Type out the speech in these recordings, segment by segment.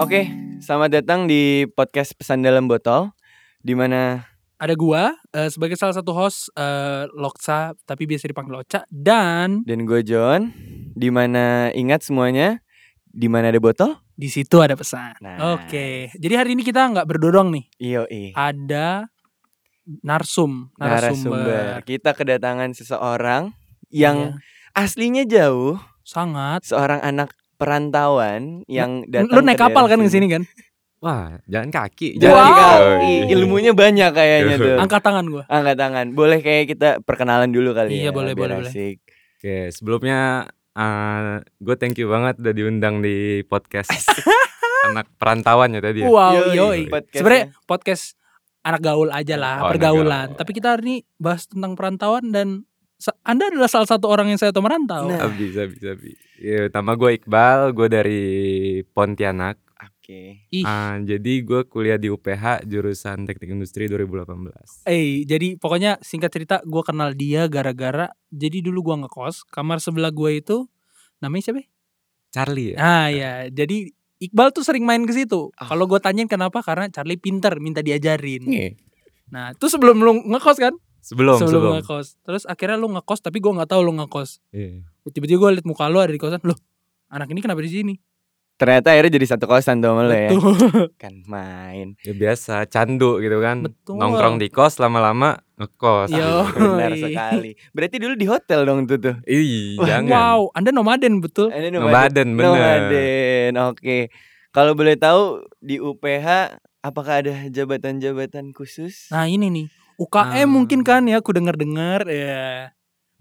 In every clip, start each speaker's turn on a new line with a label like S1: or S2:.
S1: Oke, selamat datang di podcast Pesan Dalam Botol. Di mana
S2: Ada gua eh, sebagai salah satu host eh, Loksa tapi biasa dipanggil Oca dan
S1: dan gue John. Di mana ingat semuanya? Di mana ada botol?
S2: di situ ada pesan.
S1: Nah.
S2: Oke. Jadi hari ini kita nggak berdodong nih.
S1: Iyo
S2: Ada narsum,
S1: narasumber.
S2: narasumber.
S1: Kita kedatangan seseorang yang
S2: Iya.
S1: aslinya jauh,
S2: sangat
S1: seorang anak perantauan yang datang.
S2: Lu naik
S1: ke
S2: kapal
S1: daerah
S2: kan ke sini kan?
S3: Wah, jalan kaki. iya.
S1: Jalan
S2: Wow.
S1: kaki. Ilmunya banyak kayaknya tuh.
S2: Angkat tangan gua.
S1: Angkat tangan. Boleh kayak kita perkenalan dulu kali ya.
S2: Iya, boleh,
S1: biar
S2: boleh, boleh.
S1: asik.
S3: Oke, sebelumnya gue thank you banget udah diundang di podcast anak perantauan ya tadi. Ya.
S2: Wow,
S1: Iya. Yoi,
S2: yoi.
S1: podcastnya.
S2: Sebenarnya podcast anak gaul aja lah,
S3: Oh, anak
S2: pergaulan.
S3: gaul.
S2: Tapi kita hari ini bahas tentang perantauan dan se- Anda adalah salah satu orang yang saya tahu merantau.
S1: Nah.
S3: Abi, Abi, Abi. Ya, nama gue Iqbal, gue dari Pontianak.
S1: Oke.
S2: Ih.
S3: Ah, jadi gue kuliah di UPH jurusan Teknik Industri 2018.
S2: Eh, jadi pokoknya singkat cerita gue kenal dia gara-gara jadi dulu gua ngekos, kamar sebelah gua itu namanya siapa? ya?
S3: Charlie ya?
S2: Ah ya, jadi Iqbal tuh sering main ke situ.
S3: Ah.
S2: Kalau gue tanyain kenapa karena Charlie pinter minta diajarin.
S3: Nih.
S2: Nah, itu sebelum lu ngekos kan?
S3: Sebelum,
S2: sebelum,
S3: sebelum.
S2: ngekos. Terus akhirnya lu ngekos tapi gua nggak tahu lu ngekos.
S3: Iya.
S2: Tiba-tiba gue liat muka lu ada di kosan. Loh, anak ini kenapa di sini?
S1: Ternyata akhirnya jadi satu kosan tuh sama lo ya.
S2: Betul.
S1: Kan main.
S3: Ya, biasa, candu gitu kan.
S2: Betul.
S3: Nongkrong di kos lama-lama ngekos.
S2: Yo.
S1: Benar
S2: Yoi.
S1: sekali. Berarti dulu di hotel dong tuh tuh.
S3: Ih, jangan.
S2: Wow, Anda nomaden betul.
S1: Ini
S3: Nomaden, bener.
S1: Nomaden. Oke. Kalau boleh tahu di UPH apakah ada jabatan-jabatan khusus?
S2: Nah, ini nih. UKM
S3: Ah.
S2: mungkin kan ya, aku denger-dengar ya.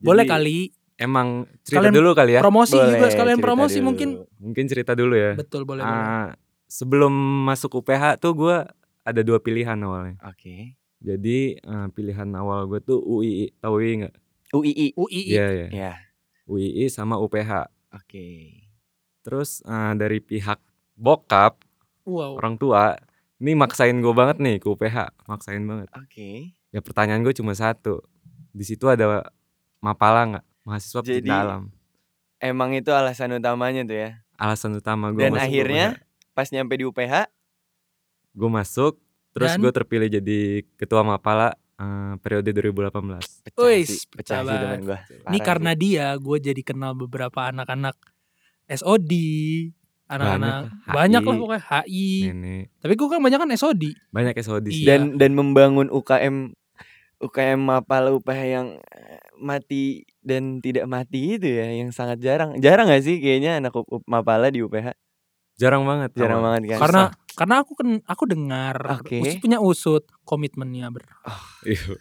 S2: Boleh
S3: Jadi,
S2: kali
S3: Emang cerita
S2: Kalian
S3: dulu kali ya.
S2: promosi
S1: Boleh,
S2: juga sekalian
S1: cerita
S2: promosi
S1: dulu. Eh,
S2: mungkin
S3: Mungkin cerita dulu ya.
S2: betul boleh boleh
S3: Ah, sebelum masuk UPH tuh gue ada dua pilihan awalnya.
S1: Oke.
S3: Jadi eh, pilihan awal gue tuh UI, tau UI nggak?
S1: UII.
S2: UI
S3: Iya ya.
S1: Ya,
S3: UII sama UPH.
S1: oke.
S3: Terus eh, dari pihak bokap
S2: wow
S3: orang tua, ini maksain gue banget nih ke UPH, maksain banget.
S1: Oke.
S3: Ya pertanyaan gue cuma satu, di situ ada mapala nggak? Mahasiswa
S1: Jadi-
S3: pecinta alam.
S1: Emang itu alasan utamanya tuh ya.
S3: Alasan utama gue
S1: Dan akhirnya pas nyampe di UPH,
S3: gue masuk, terus
S2: Dan?
S3: gue terpilih jadi ketua mapala eh, periode 2018.
S1: pecah
S2: Wih,
S1: sih, pecah sih
S2: pecah
S1: teman gua.
S2: ini
S1: Parah
S2: karena dia gue jadi kenal beberapa anak-anak SOD anak-anak
S3: Banyak lah,
S2: banyak
S3: HI.
S2: lah pokoknya HI
S3: Nenek.
S2: tapi gue kan banyak kan SOD
S3: banyak ya SOD
S1: sih.
S3: sih.
S2: Iya.
S1: dan dan membangun UKM UKM Mapala UPH yang eh, mati dan tidak mati itu ya yang sangat jarang. Jarang gak sih kayaknya anak U- U- Mapala di UPH?
S3: jarang banget
S1: Jarang
S3: awal.
S1: banget kan.
S2: karena karena aku kan aku dengar
S1: Oke.
S2: usut punya usut komitmennya ber
S3: Iya.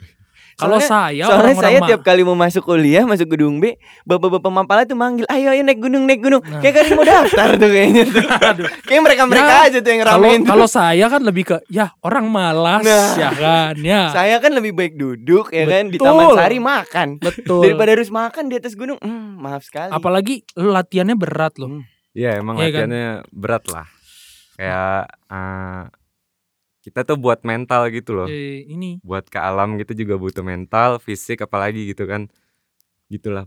S2: kalau
S1: Soalnya-
S2: saya
S1: Soalnya
S2: ya, orang-orang
S1: saya
S2: ma-
S1: tiap kali mau masuk kuliah, masuk gedung B, bapak-bapak Mapala tuh manggil, "Ayo ayo naik gunung, naik gunung."
S2: Nah.
S1: Kayak kalian mau daftar tuh kayaknya tuh. Kayak mereka-mereka
S2: Ya,
S1: aja tuh yang
S2: kalau
S1: ramein. tuh.
S2: kalau saya kan lebih ke ya orang malas
S1: Nah.
S2: ya kan ya
S1: saya kan lebih baik duduk ya kan di
S2: Betul.
S1: Taman Sari makan.
S2: betul
S1: Daripada harus makan di atas gunung. Hmm, maaf sekali.
S2: apalagi lu latihannya berat loh
S1: Hmm.
S3: Iya, emang
S2: Iya kan?
S3: latihannya berat lah. Kayak eh, kita tuh buat mental gitu loh.
S2: Eh, ini
S3: Buat ke alam gitu juga butuh mental, fisik apalagi gitu kan. Gitulah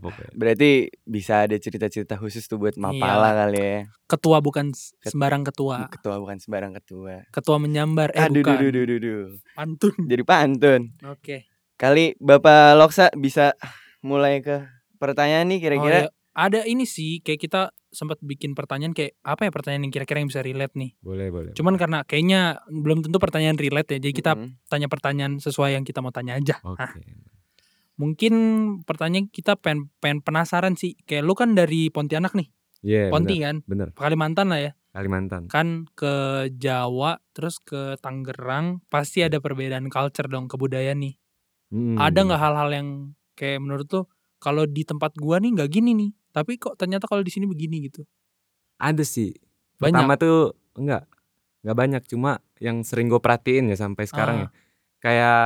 S2: Ah,
S3: pokoknya.
S1: Berarti bisa ada cerita-cerita khusus tuh
S2: Iya,
S1: buat Mapala kali ya.
S2: ketua bukan s-
S1: Ket-
S2: sembarang ketua
S1: Ketua bukan sembarang ketua.
S2: ketua menyambar eh
S1: Aduh,
S2: bukan
S1: duh, duh, duh, duh, duh.
S2: pantun
S1: Jadi pantun.
S2: oke
S1: Kali Bapak Loksa bisa mulai ke pertanyaan nih
S2: Oh,
S1: kira-kira.
S2: iya. ada ini sih kayak kita sempat bikin pertanyaan kayak apa ya pertanyaan yang kira-kira yang bisa relate nih
S3: Boleh, boleh.
S2: cuman karena kayaknya belum tentu pertanyaan relate ya jadi kita
S1: Mm-mm.
S2: tanya pertanyaan sesuai yang kita mau tanya aja
S3: Oke.
S2: mungkin pertanyaan kita pengen, pengen penasaran sih kayak lu kan dari Pontianak nih
S3: Iya,
S2: Ponti
S3: bener,
S2: kan
S3: bener.
S2: Kalimantan lah ya
S3: Kalimantan.
S2: kan ke Jawa terus ke Tangerang pasti
S1: Iya.
S2: ada perbedaan culture dong kebudayaan nih
S3: Mm.
S2: ada nggak hal-hal yang kayak menurut tuh kalau di tempat gua nih nggak gini nih tapi kok ternyata kalau di sini begini gitu
S3: Ada sih.
S2: banyak
S3: Pertama tuh enggak. Enggak banyak, cuma yang sering gue perhatiin ya sampai sekarang
S2: Ah.
S3: ya. Kayak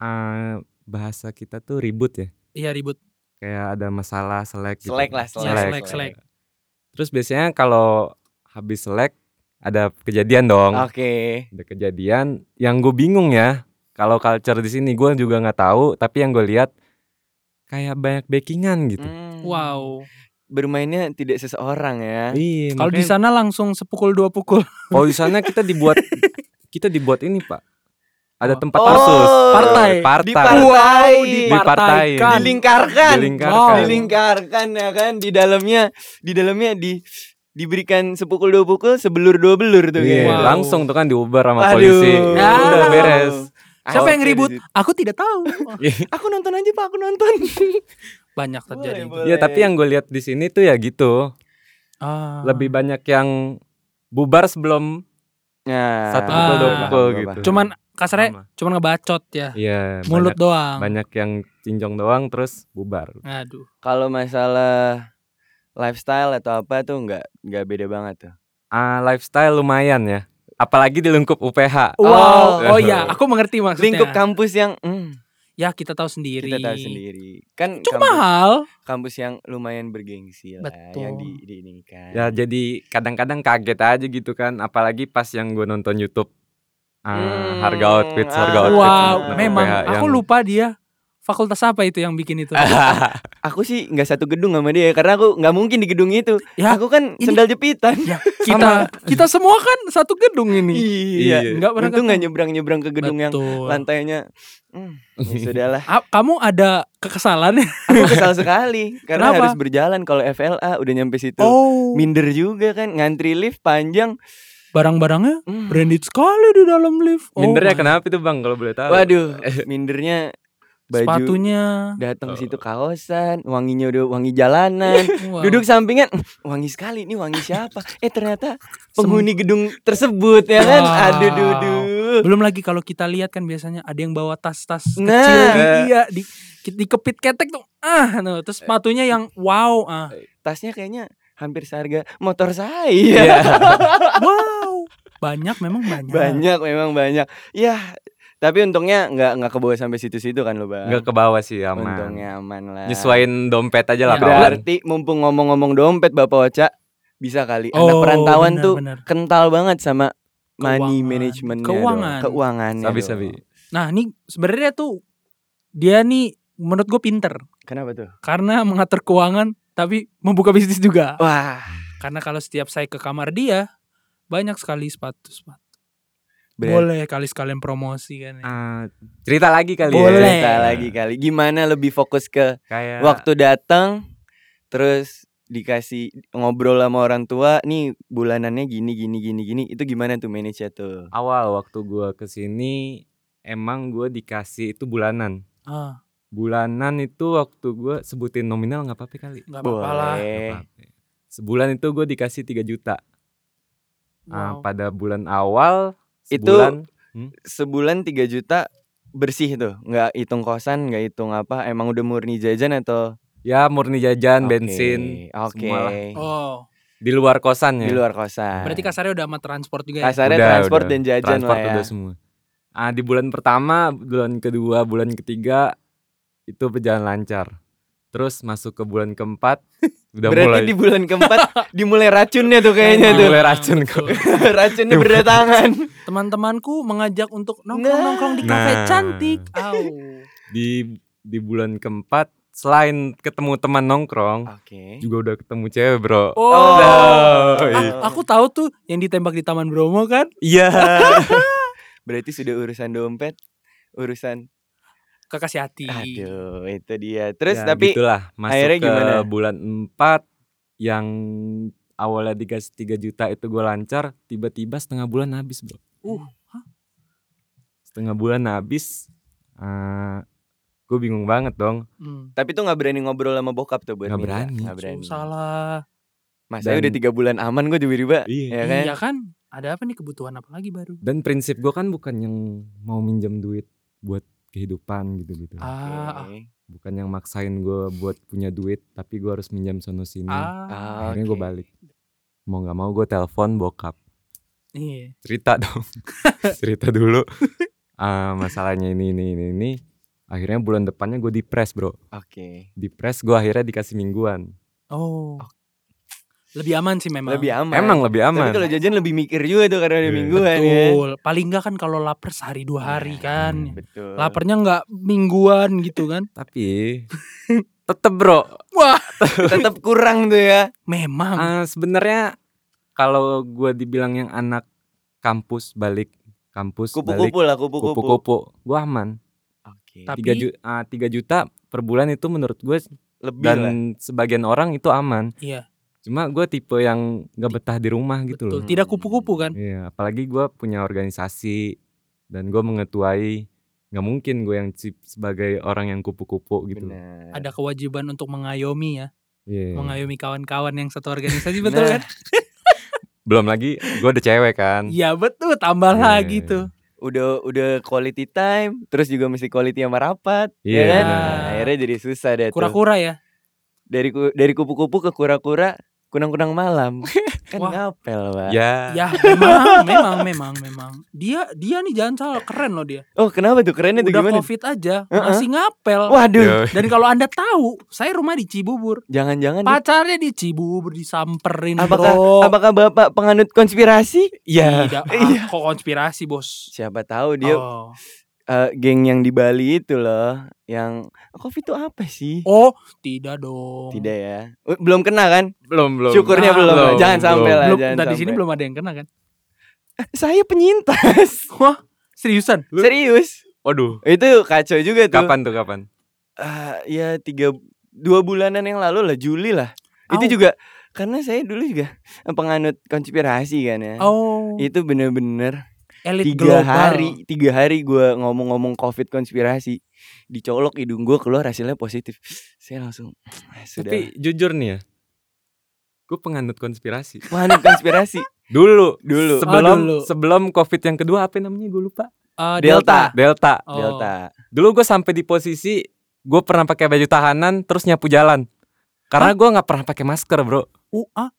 S3: eh, bahasa kita tuh ribut ya.
S2: iya ribut
S3: kayak ada masalah selek gitu.
S1: Selek lah, selek,
S2: Iya, selek, selek.
S3: Terus biasanya kalau habis selek ada kejadian dong.
S1: Oke.
S3: Ada kejadian yang gue bingung ya. Kalau culture di sini gue juga nggak tahu, tapi yang gue lihat kayak banyak backingan gitu.
S1: Hmm.
S2: wow
S1: bermainnya tidak seseorang ya.
S3: Iya,
S2: Kalau di
S3: makanya-
S2: sana langsung sepukul dua pukul.
S3: kalau di sana kita dibuat kita dibuat ini, Pak. Ada
S2: Oh.
S3: tempat parsus.
S2: Partai.
S3: Partai.
S1: Dipartai.
S3: Di- Dipartai.
S2: Dipartaikan.
S1: dilingkarkan.
S3: Dilingkarkan.
S1: Dilingkarkan ya kan di dalamnya di dalamnya di diberikan sepukul dua pukul sebelur dua belur tuh
S3: Iya,
S1: kayaknya.
S2: Wow.
S3: langsung tuh kan diuber sama polisi.
S2: Ah.
S3: Udah beres.
S2: Siapa yang
S1: Oke,
S2: ribut?
S1: di situ.
S2: Aku tidak tahu.
S1: Aku nonton aja Pak, aku nonton.
S2: Banyak terjadi. itu.
S1: Boleh,
S3: Iya, tapi yang gue lihat di sini tuh ya gitu.
S2: Ah.
S3: Lebih banyak yang bubar sebelum
S1: Nah,
S3: satu pukul dua
S2: Ah.
S3: pukul gitu.
S2: Cuman kasarnya
S3: Sama.
S2: cuman ngebacot ya.
S3: Iya,
S2: Mulut doang.
S3: banyak yang cincong doang terus bubar.
S2: Aduh.
S1: Kalau masalah lifestyle atau apa tuh nggak nggak beda banget tuh.
S3: Ah, lifestyle lumayan ya. Apalagi di lingkup UPH.
S2: Wow. Oh iya, aku mengerti maksudnya.
S1: Lingkup kampus yang mm,
S2: ya kita tahu sendiri.
S1: kita tahu sendiri. Kan kampus,
S2: Cuma mahal.
S1: kampus yang lumayan bergengsi lah yang
S2: Betul.
S1: di, diinikan.
S2: Iya.
S3: Ya jadi kadang-kadang kaget aja gitu kan, apalagi pas yang gue nonton YouTube Ah,
S1: Hmm,
S3: harga outfit, harga
S1: ah.
S3: outfit.
S2: Wow,
S1: Nah,
S2: memang
S3: UPH
S2: aku
S3: yang-
S2: lupa dia fakultas apa itu yang bikin itu.
S1: Aku sih nggak satu gedung sama dia karena aku nggak mungkin di gedung itu.
S2: Ya,
S1: aku kan
S2: ini-
S1: sendal jepitan.
S2: ya kita kita semua kan satu gedung ini.
S1: Iya.
S2: Enggak pernah
S1: Untung nggak
S2: ketemu.
S1: nyebrang-nyebrang ke gedung yang
S2: Betul.
S1: lantainya. Mm, ya sudahlah.
S2: A- kamu ada kekesalan ya?
S1: Aku kesal sekali karena
S2: Kenapa?
S1: harus berjalan kalau FLA udah nyampe situ.
S2: Oh,
S1: Minder juga kan ngantri lift panjang.
S2: barang-barangnya
S1: Mm.
S2: branded sekali di dalam lift. Oh
S3: Mindernya
S2: my-
S3: kenapa itu bang kalau boleh tahu?
S1: Waduh, mindernya baju
S2: Eh. Sepatunya.
S1: datang
S3: Oh.
S1: situ kaosan, wanginya udah wangi jalanan.
S2: Wow.
S1: Duduk sampingan, "Mm, wangi sekali nih wangi siapa? Eh ternyata penghuni gedung tersebut ya kan.
S2: Wow.
S1: Aduh duduh.
S2: Belum lagi kalau kita lihat kan biasanya ada yang bawa tas-tas
S1: Nah.
S2: kecil di, iya, di, di kepit ketek tuh. Ah, no. terus sepatunya yang wow ah.
S1: Tasnya kayaknya hampir seharga motor
S2: Iya.
S1: saya.
S3: Iya,
S2: Wow. Banyak memang banyak.
S1: banyak memang banyak. Ya, tapi untungnya nggak nggak kebawa sampai situ-situ kan lo bang.
S3: Nggak ke bawah sih aman.
S1: Untungnya aman lah.
S3: Nyesuain dompet aja lah
S2: Ya,
S3: kawan.
S1: Berarti mumpung ngomong-ngomong dompet Bapak Oca bisa kali anak
S2: Oh,
S1: perantauan
S2: benar,
S1: tuh
S2: benar.
S1: kental banget sama money
S2: Keuangan.
S1: management
S2: Keuangan.
S1: keuangannya.
S3: Sabi
S1: dong.
S3: sabi.
S2: Nah, ini sebenarnya tuh dia nih menurut gue pinter
S1: Kenapa tuh?
S2: karena mengatur keuangan tapi membuka bisnis juga.
S1: Wah,
S2: Karena kalau setiap saya ke kamar dia banyak sekali sepatu sepatu.
S1: boleh
S2: Boleh kali sekalian promosi kan. Ya.
S3: Ah, cerita lagi kali
S2: Boleh. Ya.
S3: ya.
S1: cerita lagi kali. Gimana lebih fokus ke
S3: Kayak
S1: waktu datang terus dikasih ngobrol sama orang tua nih bulanannya gini gini gini gini itu gimana tuh manage tuh
S3: awal waktu gua kesini emang gua dikasih itu bulanan.
S2: Ah,
S3: Bulanan itu waktu gua sebutin nominal nggak apa-apa kali.
S2: nggak apa-apa lah.
S3: Nggak
S1: boleh
S3: apa-apa. Sebulan itu gue dikasih 3 juta. Ah,
S2: Wow.
S3: pada bulan awal
S1: Itu-
S3: sebulan,
S1: sebulan 3 juta bersih tuh nggak hitung kosan nggak hitung apa emang udah murni jajan atau
S3: ya murni
S1: Oke,
S3: jajan, bensin,
S1: oke
S3: semualah.
S2: Oh,
S3: di luar kosan ya.
S1: di luar kosan
S2: berarti kasarnya udah sama transport juga ya.
S1: kasarnya
S3: Udah,
S1: transport
S3: udah.
S1: dan jajan
S3: Transport
S1: lah ya
S3: udah semua. Ah, di bulan pertama, bulan kedua, bulan ketiga itu berjalan lancar. Terus masuk ke bulan keempat udah
S1: berarti
S3: mulai
S1: di bulan keempat dimulai racunnya tuh kayaknya
S2: Emang,
S1: tuh
S3: Mulai racun
S2: betul.
S1: racunnya berdatangan
S2: Teman-temanku mengajak untuk
S1: Nah.
S2: nongkrong-nongkrong di kafe
S3: Nah.
S2: cantik. Au.
S3: di di bulan keempat selain ketemu teman nongkrong
S1: oke
S3: juga udah ketemu cewek, Bro.
S2: Oh.
S3: Oi.
S2: Ah, aku tahu tuh yang ditembak di Taman Bromo kan
S3: Iya.
S1: berarti sudah urusan dompet urusan
S2: kekasih hati.
S1: aduh itu dia terus
S3: Ya,
S1: tapi
S3: gitulah masuk
S1: akhirnya
S3: ke
S1: gimana?
S3: bulan 4 yang awalnya dikasih 3 juta itu gue lancar tiba-tiba setengah bulan habis bro
S2: Uh,
S3: setengah bulan habis gue bingung banget dong
S2: Hmm.
S1: tapi tuh nggak berani ngobrol sama bokap tuh buat
S3: Nggak
S1: minta.
S3: berani.
S1: nggak berani
S2: Susah lah.
S1: mas saya
S3: Dan-
S1: udah tiga bulan aman gue tiba-tiba
S3: iya
S1: ya kan
S2: Iya kan? Ada apa nih kebutuhan apa lagi baru?
S3: dan prinsip gue kan bukan yang mau minjem duit buat kehidupan gitu gitu
S2: Ah, ah,
S1: Oke.
S3: bukan yang maksain gue buat punya duit tapi gue harus minjam sono sini
S2: ah.
S1: Ah,
S3: akhirnya gue
S1: oke.
S3: balik mau nggak mau gue telepon bokap
S2: Iya.
S3: cerita dong cerita dulu Ah, masalahnya ini ini ini ini akhirnya bulan depannya gue dipres bro
S1: Oke.
S3: dipres gue akhirnya dikasih mingguan
S2: Oh. Lebih aman sih memang.
S1: Lebih aman.
S3: emang lebih
S1: Tapi
S3: aman
S1: kalau jajan lebih mikir juga tuh karena ada
S3: Iya.
S1: mingguan ya.
S2: Betul. Paling enggak kan kalau lapar sehari dua hari
S1: Iya,
S2: kan.
S1: Betul.
S2: Lapernya enggak mingguan gitu kan.
S3: tapi tetep bro
S1: tetap kurang tuh ya
S2: Memang.
S3: Ah, sebenarnya kalau gua dibilang yang anak kampus balik kampus balik
S1: kupu-kupu lah kupu-kupu
S3: kupu-kupu gua aman
S1: oke
S2: Tapi-
S3: tiga ju- ah, tiga juta per bulan itu menurut gue
S1: lebih lah
S3: dan sebagian orang itu aman
S2: Iya.
S3: cuma gua tipe yang nggak betah di rumah gitu
S2: Betul.
S3: loh
S2: Tidak kupu-kupu kan?
S3: Iya, apalagi gua punya organisasi dan gua mengetuai nggak mungkin gue yang si- sebagai orang yang kupu-kupu gitu loh.
S1: Benar.
S2: Ada kewajiban untuk mengayomi ya,
S3: Iya.
S2: mengayomi kawan-kawan yang satu organisasi betul
S1: Nah.
S2: kan?
S3: belum lagi gua ada cewek kan
S2: Iya betul, tambah
S3: Iya.
S2: lagi tuh.
S1: udah udah quality time terus juga mesti quality sama rapat
S3: Iya,
S1: ya kan
S2: benar.
S1: Nah, akhirnya jadi susah deh tuh.
S2: Kura-kura ya.
S1: dari ku- dari kupu-kupu ke kura-kura kunang-kunang malam kan
S2: Wah.
S1: ngapel pak
S3: ya
S2: Ya memang, memang, memang, memang. Dia dia nih jangan salah, keren loh dia.
S1: oh kenapa tuh kerennya tuh
S2: Udah Iya.
S1: gimana
S2: covid aja
S1: Heeh.
S2: masih ngapel.
S1: waduh
S3: Yo.
S2: Dan kalau anda tahu, saya rumah di Cibubur.
S1: jangan-jangan dia-
S2: Pacarnya di Cibubur disamperin
S1: Apakah-
S2: bro.
S1: apakah bapak penganut konspirasi
S2: Tidak, ah,
S1: Iya.
S2: kok konspirasi bos.
S1: siapa tahu dia
S2: Oh.
S1: eh, geng yang di Bali itu loh yang covid itu apa sih
S2: Oh, tidak dong.
S1: tidak ya Eh, belum kena kan
S3: belum belum
S1: syukurnya
S2: Ah,
S1: belum,
S3: belum,
S1: jangan sampai
S3: belum.
S1: lah
S2: Belum,
S1: jangan
S2: nah, di sini
S1: sampai.
S2: belum ada yang kena kan?
S1: "Eh, saya penyintas
S2: Wah, seriusan?
S3: Lu-
S1: serius
S3: waduh
S1: itu kacau juga tuh
S3: kapan tuh kapan
S1: Ah, ya tiga dua bulanan yang lalu lah Juli lah
S2: Au.
S1: itu juga karena saya dulu juga eh, penganut konspirasi kan ya
S2: Oh,
S1: itu bener-bener
S2: elit
S1: tiga
S2: global.
S1: hari tiga hari gua ngomong-ngomong covid konspirasi dicolok hidung gua keluar hasilnya positif saya langsung "Ah, sudah
S3: tapi jujur nih ya gue penganut konspirasi
S1: penganut konspirasi
S3: dulu
S1: Dulu.
S3: sebelum
S2: Oh, dulu.
S3: sebelum covid yang kedua apa namanya gue lupa
S2: Eh,
S1: Delta.
S3: delta
S2: Oh.
S1: delta
S3: dulu gue sampai di posisi gue pernah pakai baju tahanan terus nyapu jalan karena gue nggak pernah pakai masker bro
S2: Uh, ah.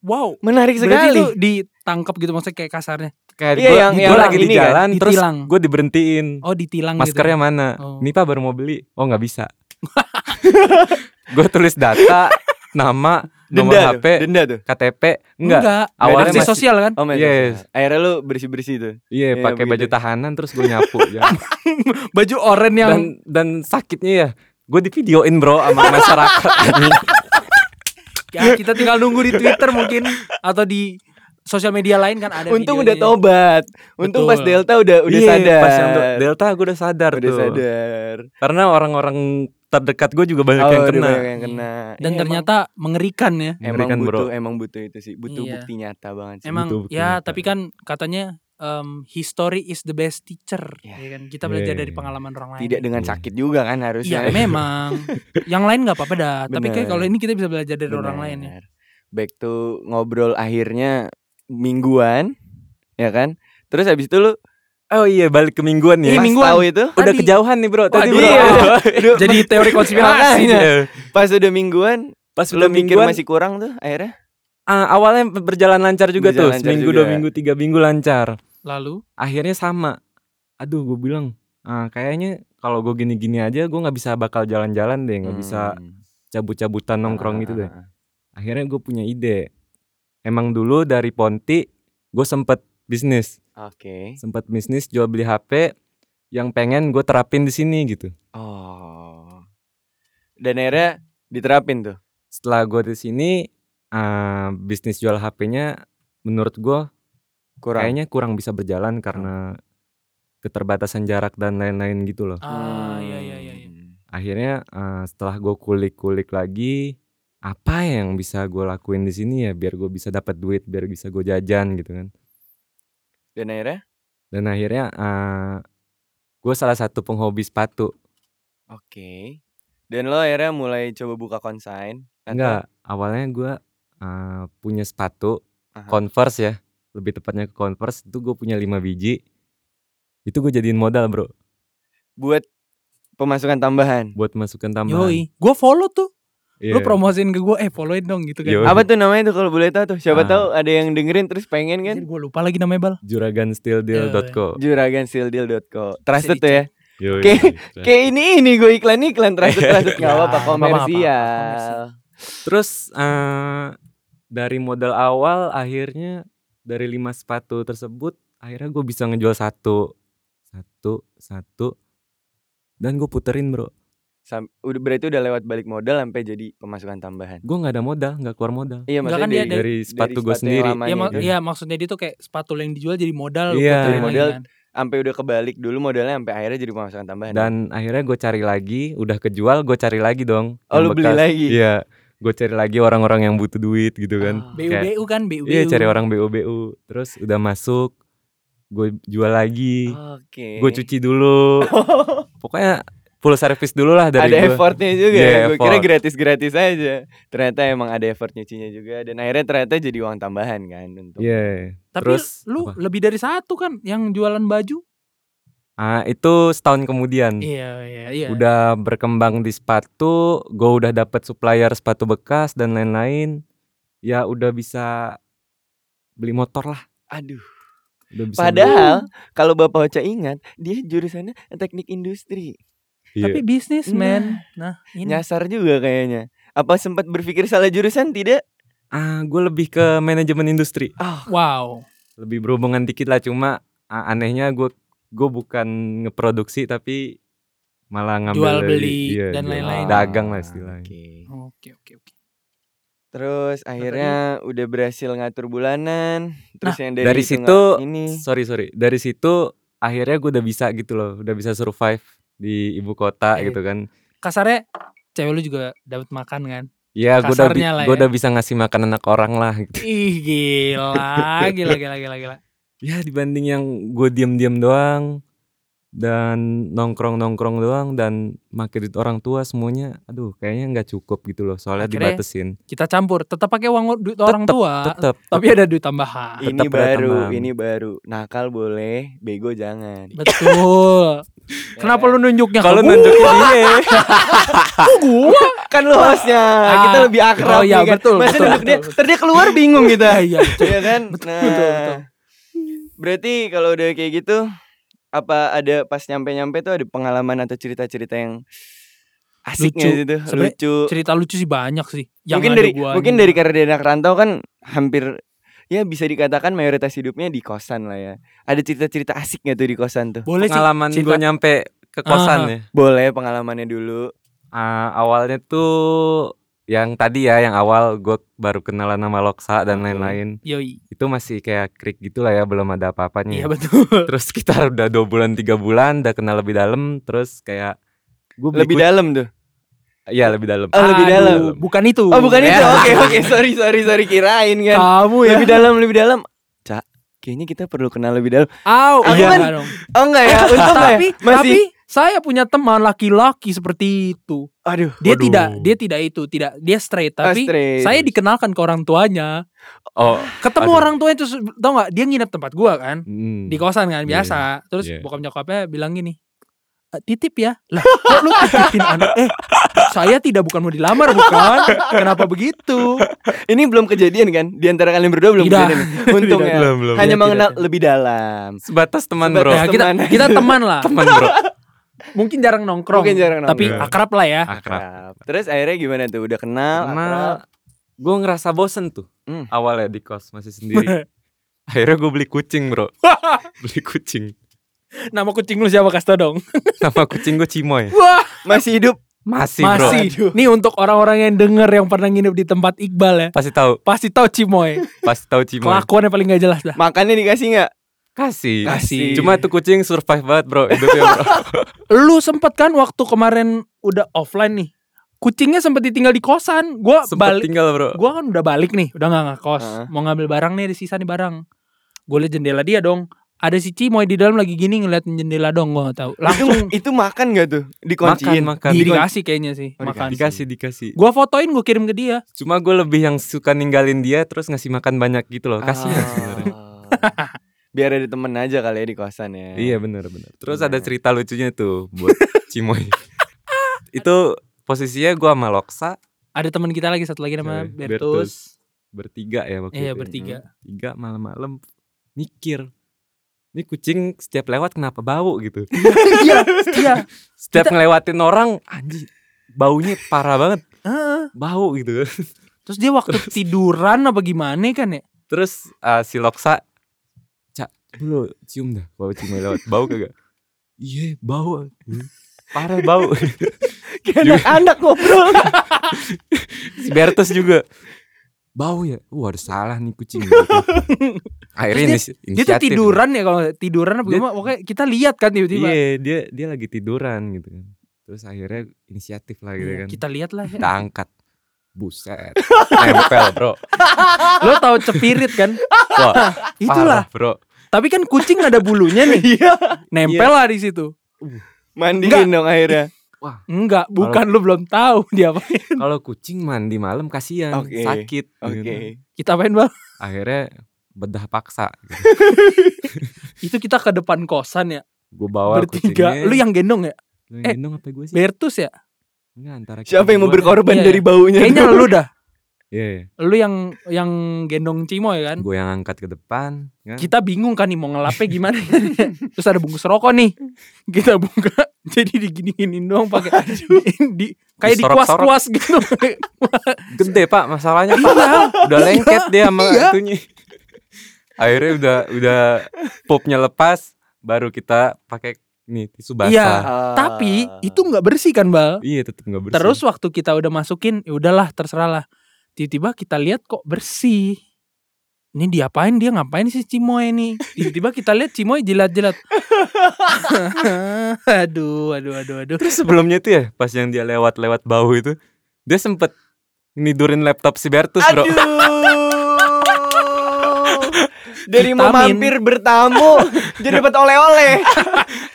S2: Wow.
S1: menarik sekali
S2: Berarti itu ditangkap gitu maksudnya kayak kasarnya.
S3: kayak
S1: Iya,
S3: gue
S1: yang- yang
S3: lagi
S1: ini kan,
S3: di
S1: gitu.
S3: jalan terus
S2: Ditilang.
S3: gue diberhentiin
S2: Oh, ditilang
S3: maskernya mana
S2: Oh.
S3: nih pak baru mau beli oh nggak bisa gue tulis data nama nomor
S1: denda
S3: hp
S1: tuh, denda tuh
S3: ktp
S2: gitu.
S3: enggak awalnya
S2: Sanksi
S3: masih
S2: sosial kan?
S1: oh my God.
S3: Yes.
S1: akhirnya lu bersih bersih tuh
S3: iya
S1: Iya,
S3: pakai baju
S1: begitu.
S3: tahanan terus gue nyapu ya.
S2: Baju oranye yang
S3: dan dan sakitnya ya gue divideoin bro sama masyarakat
S1: Iya.
S2: Ya, kita tinggal nunggu di Twitter mungkin atau di sosial media lain kan ada
S1: untung udah
S2: videonya.
S1: tobat untung
S2: Betul.
S1: pas delta udah udah
S3: Iya,
S1: sadar
S3: pas yang de- delta gue udah sadar
S1: udah
S3: tuh
S1: sadar
S3: karena orang-orang terdekat gue juga banyak yang
S1: Oh, udah
S3: kena
S1: banyak yang kena.
S2: dan
S1: Iya,
S2: ternyata mengerikan ya.
S1: emang, emang
S3: Mengerikan, bro.
S1: butuh emang butuh itu sih, butuh
S2: Iya.
S1: bukti nyata banget sih.
S2: Emang
S3: betul, betul,
S2: ya,
S3: betul.
S2: tapi kan katanya em, history is the best teacher.
S1: Ya.
S2: ya kan? Kita belajar
S3: Iya.
S2: dari pengalaman orang lain.
S1: Tidak dengan
S3: Iya.
S1: sakit juga kan
S2: Iya
S1: harusnya.
S2: memang. Yang lain nggak apa-apa dah. Tapi kayak
S1: Bener.
S2: kalau ini kita bisa belajar dari
S1: Benar.
S2: orang lain ya.
S1: Back to ngobrol akhirnya mingguan, ya kan? Terus habis itu lu
S3: oh iya balik ke mingguan
S1: pas
S3: ya
S2: Iya, mingguan.
S1: tahu itu
S3: udah
S2: Tadi-
S3: kejauhan nih bro tadi
S2: Waduh.
S3: bro
S1: Iya.
S3: Aduh.
S2: Jadi teori konspirasi.
S1: Makanya.
S3: Iya.
S1: pas udah mingguan,
S3: pas
S1: lu
S3: udah
S1: mikir
S3: mingguan
S1: masih kurang tuh akhirnya.
S3: ah, awalnya berjalan lancar juga
S1: Berjalan lancar
S3: tuh seminggu
S1: juga.
S3: dua minggu tiga minggu lancar
S2: Lalu
S3: akhirnya sama aduh gue bilang ah, kayaknya kalau gue gini-gini aja gue nggak bisa bakal jalan-jalan deh nggak bisa
S1: Hmm.
S3: cabut-cabutan nongkrong gitu deh
S1: Ah, ah, ah.
S3: akhirnya gue punya ide emang dulu dari Ponti gue sempet bisnis
S1: Oke.
S3: sempet bisnis jual beli HP yang pengen gue terapin di sini gitu
S1: Oh. Dan akhirnya diterapin tuh.
S3: setelah gue di sini ah, bisnis jual HP-nya menurut gue
S1: Kurang.
S3: kayaknya kurang bisa berjalan karena keterbatasan jarak dan lain-lain gitu loh
S2: ah ya ya ya. ya.
S1: Hmm.
S3: akhirnya eh, setelah gue kulik-kulik lagi apa yang bisa gue lakuin di sini ya biar gue bisa dapat duit biar bisa gue jajan gitu kan
S1: Dan akhirnya
S3: dan akhirnya eh gue salah satu penghobi sepatu
S1: Oke. Dan lo akhirnya mulai coba buka konsain atau
S3: enggak awalnya gue eh, punya sepatu
S1: Aha.
S3: converse ya lebih tepatnya ke converse itu gue punya 5 biji itu gue jadiin modal bro
S1: buat pemasukan tambahan?
S3: buat masukan tambahan
S2: Yoi, gue follow tuh.
S3: Iya.
S2: Lu promosiin ke gue, eh followin dong gitu kan.
S3: Yoi.
S1: Apa tuh namanya tuh kalau boleh tahu tuh? Siapa
S3: Ah.
S1: tahu ada yang dengerin terus pengen kan?
S2: Jadi gue lupa lagi namanya bal.
S3: juragansteeldeal.co
S1: Juragansealdeal.co. Trusted
S2: Bisa
S1: tuh ya.
S3: Yoi.
S1: Oke. Kayak ini ini gue iklan iklan trusted trusted nggak
S2: Ya,
S1: apa-apa
S2: nggak apa-apa, komersial.
S1: komersial.
S3: Terus eh, dari modal awal akhirnya dari lima sepatu tersebut akhirnya gue bisa ngejual satu, satu, satu, dan gue puterin bro.
S1: Sam- udah berarti udah lewat balik modal sampai jadi pemasukan tambahan.
S3: Gue nggak ada modal, nggak keluar modal.
S1: Iya
S2: Enggak
S1: maksudnya
S2: kan dia
S1: dari,
S2: dari-
S3: Dari sepatu gue
S1: sepatu yang lama.
S3: sendiri.
S2: Iya,
S1: Makanya
S2: mak-
S1: itu.
S2: iya, maksudnya dia tuh kayak sepatu yang dijual jadi modal lu
S3: Iya.
S2: puterin
S1: Jadi
S2: lagi
S1: modal.
S2: kan.
S1: sampai udah kebalik dulu modalnya sampai akhirnya jadi pemasukan tambahan.
S3: Dan akhirnya gue cari lagi, udah kejual gue cari lagi dong.
S1: oh
S3: yang
S1: lu beli
S3: bekas.
S1: lagi.
S3: Iya, gue cari lagi orang-orang yang butuh duit gitu kan.
S1: Ah.
S2: BUBU kan BUBU.
S3: Iya cari orang BU terus udah masuk gue jual lagi,
S1: Oke.
S3: gue cuci dulu, pokoknya full service dulu lah dari
S1: ada
S3: gue.
S1: effortnya juga.
S3: Iya,
S1: ya gue kira
S3: effort.
S1: gratis-gratis aja. Ternyata emang ada effort nyucinya juga dan akhirnya ternyata jadi uang tambahan kan untuk.
S3: Iya.
S2: Tapi
S3: Terus
S2: lu
S3: apa? Hmm.
S2: lebih dari satu kan yang jualan baju?
S3: Ah itu setahun kemudian
S2: Iya, iya, iya.
S3: udah berkembang di sepatu, gue udah dapet supplier sepatu bekas dan lain-lain. Ya udah bisa beli motor lah.
S1: Aduh.
S3: Udah bisa
S1: Padahal kalau Bapak Ocha ingat, dia jurusannya teknik industri.
S3: beli.
S2: Tapi
S3: Iya.
S2: bisnis, man. Nah, ini
S1: Nyasar juga kayaknya. Apa sempat berpikir salah jurusan tidak?
S3: ah gue lebih ke manajemen industri,
S1: Ah,
S2: wow.
S3: lebih berhubungan dikit lah cuma ah, anehnya gue gue bukan ngeproduksi tapi malah ngambil
S2: Jual
S3: dari-
S2: beli
S3: iya,
S2: dan
S3: jual-
S2: lain-lain.
S3: Dagang lah istilahnya.
S1: Oke.
S2: Oke, oke, oke.
S1: Terus akhirnya udah berhasil ngatur bulanan. Terus
S2: Nah,
S1: yang dari,
S3: dari
S1: itu
S3: situ,
S1: nggak- ini
S3: sorry sorry dari situ akhirnya gue udah bisa gitu loh udah bisa survive di ibu kota
S2: Iya.
S3: gitu kan
S2: Kasarnya cewek lu juga dapat makan kan?
S3: ya gue udah bi-
S2: Kasarnya lah
S3: gua
S2: ya.
S3: udah bisa ngasih makan anak orang lah gitu
S2: Ih, gila, gila, gila, gila, gila.
S3: ya dibanding yang gue diem diem doang dan nongkrong nongkrong doang dan makin duit orang tua semuanya aduh kayaknya nggak cukup gitu loh soalnya
S2: Akhirnya
S3: dibatesin
S2: Kita campur, tetap pakai uang duit orang
S3: Tetep,
S2: tua,
S3: tetap
S2: tapi ada duit tambahan.
S1: ini
S3: tetap ada
S1: baru,
S3: tambahan.
S1: ini baru. Nakal boleh, bego jangan.
S2: Betul. Kenapa
S1: Eh.
S2: lu nunjuknya
S3: kalau
S2: ke gua?
S3: nunjukin dia
S2: Kok gua?
S1: kan lu hostnya, kita
S2: Ah.
S1: lebih akrab
S2: Oh, iya,
S1: ya kan?
S2: betul,
S1: Masa
S2: betul,
S1: duduk
S2: betul,
S1: dia,
S2: betul.
S1: ntar dia keluar bingung kita.
S2: Iya, iya. betul.
S1: Iya kan? nah,
S2: betul, betul.
S1: Berarti kalau udah kayak gitu apa ada pas nyampe-nyampe tuh ada pengalaman atau cerita-cerita yang asik
S2: Lucu.
S1: nggak sih tuh?
S2: Sebenarnya
S1: lucu.
S2: Cerita lucu sih banyak sih. Yang
S1: mungkin
S2: ada
S1: dari
S2: gua gitu.
S1: mungkin
S2: ini.
S1: dari karena dia anak rantau kan hampir ya bisa dikatakan mayoritas hidupnya di kosan lah ya. Ada cerita-cerita asik nggak tuh di kosan tuh?
S2: boleh sih.
S3: pengalaman
S2: cerita-
S3: gue nyampe ke kosan ya
S1: Boleh pengalamannya dulu.
S3: Ah, awalnya tuh yang tadi ya yang awal gue baru kenalan sama Loksa dan
S1: Oke.
S3: lain-lain
S2: Yoi.
S3: itu masih kayak krik gitulah ya belum
S2: Iya
S3: ada apa-apanya
S2: betul.
S3: terus kita udah dua bulan tiga bulan udah kenal lebih dalam terus kayak gue
S1: Lebih dalam tuh.
S3: ya lebih dalam
S1: Oh, lebih
S2: Aduh,
S1: dalam.
S2: Bukan itu.
S1: Oh bukan itu.
S2: Ya.
S1: Oke oke sorry sorry sorry kirain kan.
S2: Kamu ya.
S1: Lebih dalam lebih dalam. Cak, kayaknya kita perlu kenal lebih dalam.
S2: Au.
S1: Aku
S2: iya,
S1: kan-
S2: enggak dong.
S1: Oh enggak ya, untung enggak ya?
S2: tapi tapi
S1: Masih-
S2: saya punya teman laki-laki seperti itu.
S1: Aduh.
S2: Dia
S3: Waduh.
S2: tidak dia tidak itu, tidak dia straight tapi
S1: Ah, straight.
S2: saya dikenalkan ke orang tuanya.
S3: oh
S2: Ketemu
S3: Aduh.
S2: orang tuanya terus tau nggak dia nginep tempat gua kan
S3: mm.
S2: di kosan kan
S3: Iya,
S2: biasa. Terus
S3: iya.
S2: bokap nyokapnya bilang gini, "E, titip ya lah kok lu titipin anak eh saya tidak bukan mau dilamar bukan kenapa begitu
S1: Ini belum kejadian kan? Di antara kalian berdua belum
S2: Tidak.
S1: kejadian. Untung
S2: Tidak,
S1: ya.
S3: belum belum
S1: Hanya
S2: Tidak,
S1: mengenal
S2: tidak.
S1: lebih dalam.
S3: sebatas teman
S1: Sebatas
S3: bro
S2: Ya, kita
S1: teman.
S2: kita teman lah
S3: teman bro
S2: mungkin jarang nongkrong
S1: Mungkin jarang
S2: tapi
S3: nongkrong.
S2: akrab lah ya
S3: akrab
S1: Akrab. Terus akhirnya gimana tuh? Udah kenal?
S3: karena
S1: akrab?
S3: gue ngerasa bosen tuh
S1: Hmm.
S3: awalnya di kos masih sendiri akhirnya gue beli kucing bro beli kucing
S2: nama kucing lu siapa kasta dong
S3: nama kucing gue Cimoy
S2: wah
S1: Masih hidup?
S3: masih, bro
S2: masih nih untuk orang-orang yang denger yang pernah nginep di tempat Iqbal ya
S3: pasti tahu
S2: pasti tahu Cimoy
S3: pasti tahu Cimoy
S2: kelakuannya paling gak jelas dah
S1: Makannya dikasih nggak?
S3: kasih
S1: Kasih.
S3: Cuma tuh kucing survive banget bro hidupnya bro.
S2: lu sempet kan waktu kemarin udah offline nih kucingnya sempet ditinggal di kosan gua
S3: Sempet
S2: balik
S3: tinggal bro.
S2: gue kan udah balik nih udah nggak ngekos
S1: Heeh.
S2: mau ngambil barang nih ada sisa nih barang gue liat jendela dia dong ada si Cimoy di dalam lagi gini ngeliatin jendela dong gue gak tahu langsung
S1: Itu, itu makan nggak tuh? Dikunciin.
S3: makan
S1: Di-
S2: dikasih kayaknya sih
S1: Oh,
S2: makan
S3: Dikasih dikasih.
S2: gue fotoin gue kirim ke dia
S3: Cuma gue lebih yang suka ninggalin dia terus ngasih makan banyak gitu loh. Kasih.
S1: Ah. Oh. Biar ada temen aja kali ya di kosan ya.
S3: Iya benar benar. Terus
S1: Benar.
S3: ada cerita lucunya tuh buat Cimoy. Itu posisinya gue sama Loksa
S2: ada teman kita lagi satu lagi nama
S3: Siapa ya?
S2: Bertus,
S3: bertiga ya waktu
S2: iya
S3: itu.
S2: bertiga
S3: Tiga malam-malam mikir. Ini kucing setiap lewat kenapa bau gitu.
S2: iya iya
S3: Setiap ngelewatin orang anjing baunya parah banget.
S2: Heeh.
S3: Bau gitu.
S2: terus dia waktu tiduran apa gimana kan ya
S3: Terus eh, si Loksa Cak, lu cium dah bau cium lewat Bau kagak? Iya bau parah bau
S1: Kayak anak ngobrol.
S3: si Bertus juga bau ya wah ada salah nih kucing gitu. akhirnya gitu.
S2: Terus Dia tuh tiduran ya kalau nggak- tiduran apa
S3: Dia-
S2: gimana? Pokoknya kita lihat kan tiba-tiba.
S3: iya dia dia lagi tiduran gitu kan terus akhirnya inisiatif lah gitu
S2: Iya,
S3: kan
S2: Kita lihat lah. ya.
S3: kita angkat buset nempel bro
S2: Lo tahu cepirit kan?
S3: wah
S2: Itulah.
S3: parah, bro
S2: Tapi kan kucing ada bulunya nih.
S1: Iya.
S2: Nempel lah di situ.
S1: Mandiin dong akhirnya.
S2: Enggak, bukan lu belum tahu dia apa.
S3: kalau kucing mandi malam kasihan
S1: Oke,
S3: sakit gitu
S1: Oke.
S3: kan.
S2: Kita main bal.
S3: akhirnya bedah paksa
S2: Itu kita ke depan kosan ya.
S3: gue bawa
S2: bertiga.
S3: Oh, kucingnya
S2: Lu yang gendong ya?
S3: Lu
S2: eh,
S3: yang gendong apa gue sih
S2: Bertus ya?
S3: Enggak, antara
S1: Siapa yang mau berkorban
S2: Iya,
S1: dari baunya?
S2: Kayaknya lu dah.
S3: Iya,
S2: Lu yang yang gendong Cimoy kan?
S3: gue yang angkat ke depan. kan.
S2: Kita bingung kan nih mau ngelapnya gimana. Terus ada bungkus rokok nih. Kita buka jadi digini-giniin doang pakai di kayak
S3: Disorok-sorok.
S2: dikuas-kuas gitu.
S3: Gede pak, masalahnya pak. udah lengket dia sama itunya. Akhirnya udah udah popnya lepas, baru kita pakai nih tisu basah.
S1: Ah.
S2: Tapi itu nggak bersih kan, Bal?
S3: Iya, tetep nggak bersih.
S2: Terus waktu kita udah masukin, ya udahlah terserah lah. Tiba-tiba kita lihat kok bersih. Ini diapain dia ngapain sih Cimoy ini? Tiba-tiba kita lihat Cimoy jilat-jilat. aduh, aduh, aduh, aduh.
S3: Terus sebelumnya tuh ya, pas yang dia lewat-lewat bau itu, dia sempet nidurin laptop si Bertus bro.
S1: Aduh. Dari mau
S2: Vitamin.
S1: mampir bertamu jadi dapat oleh-oleh.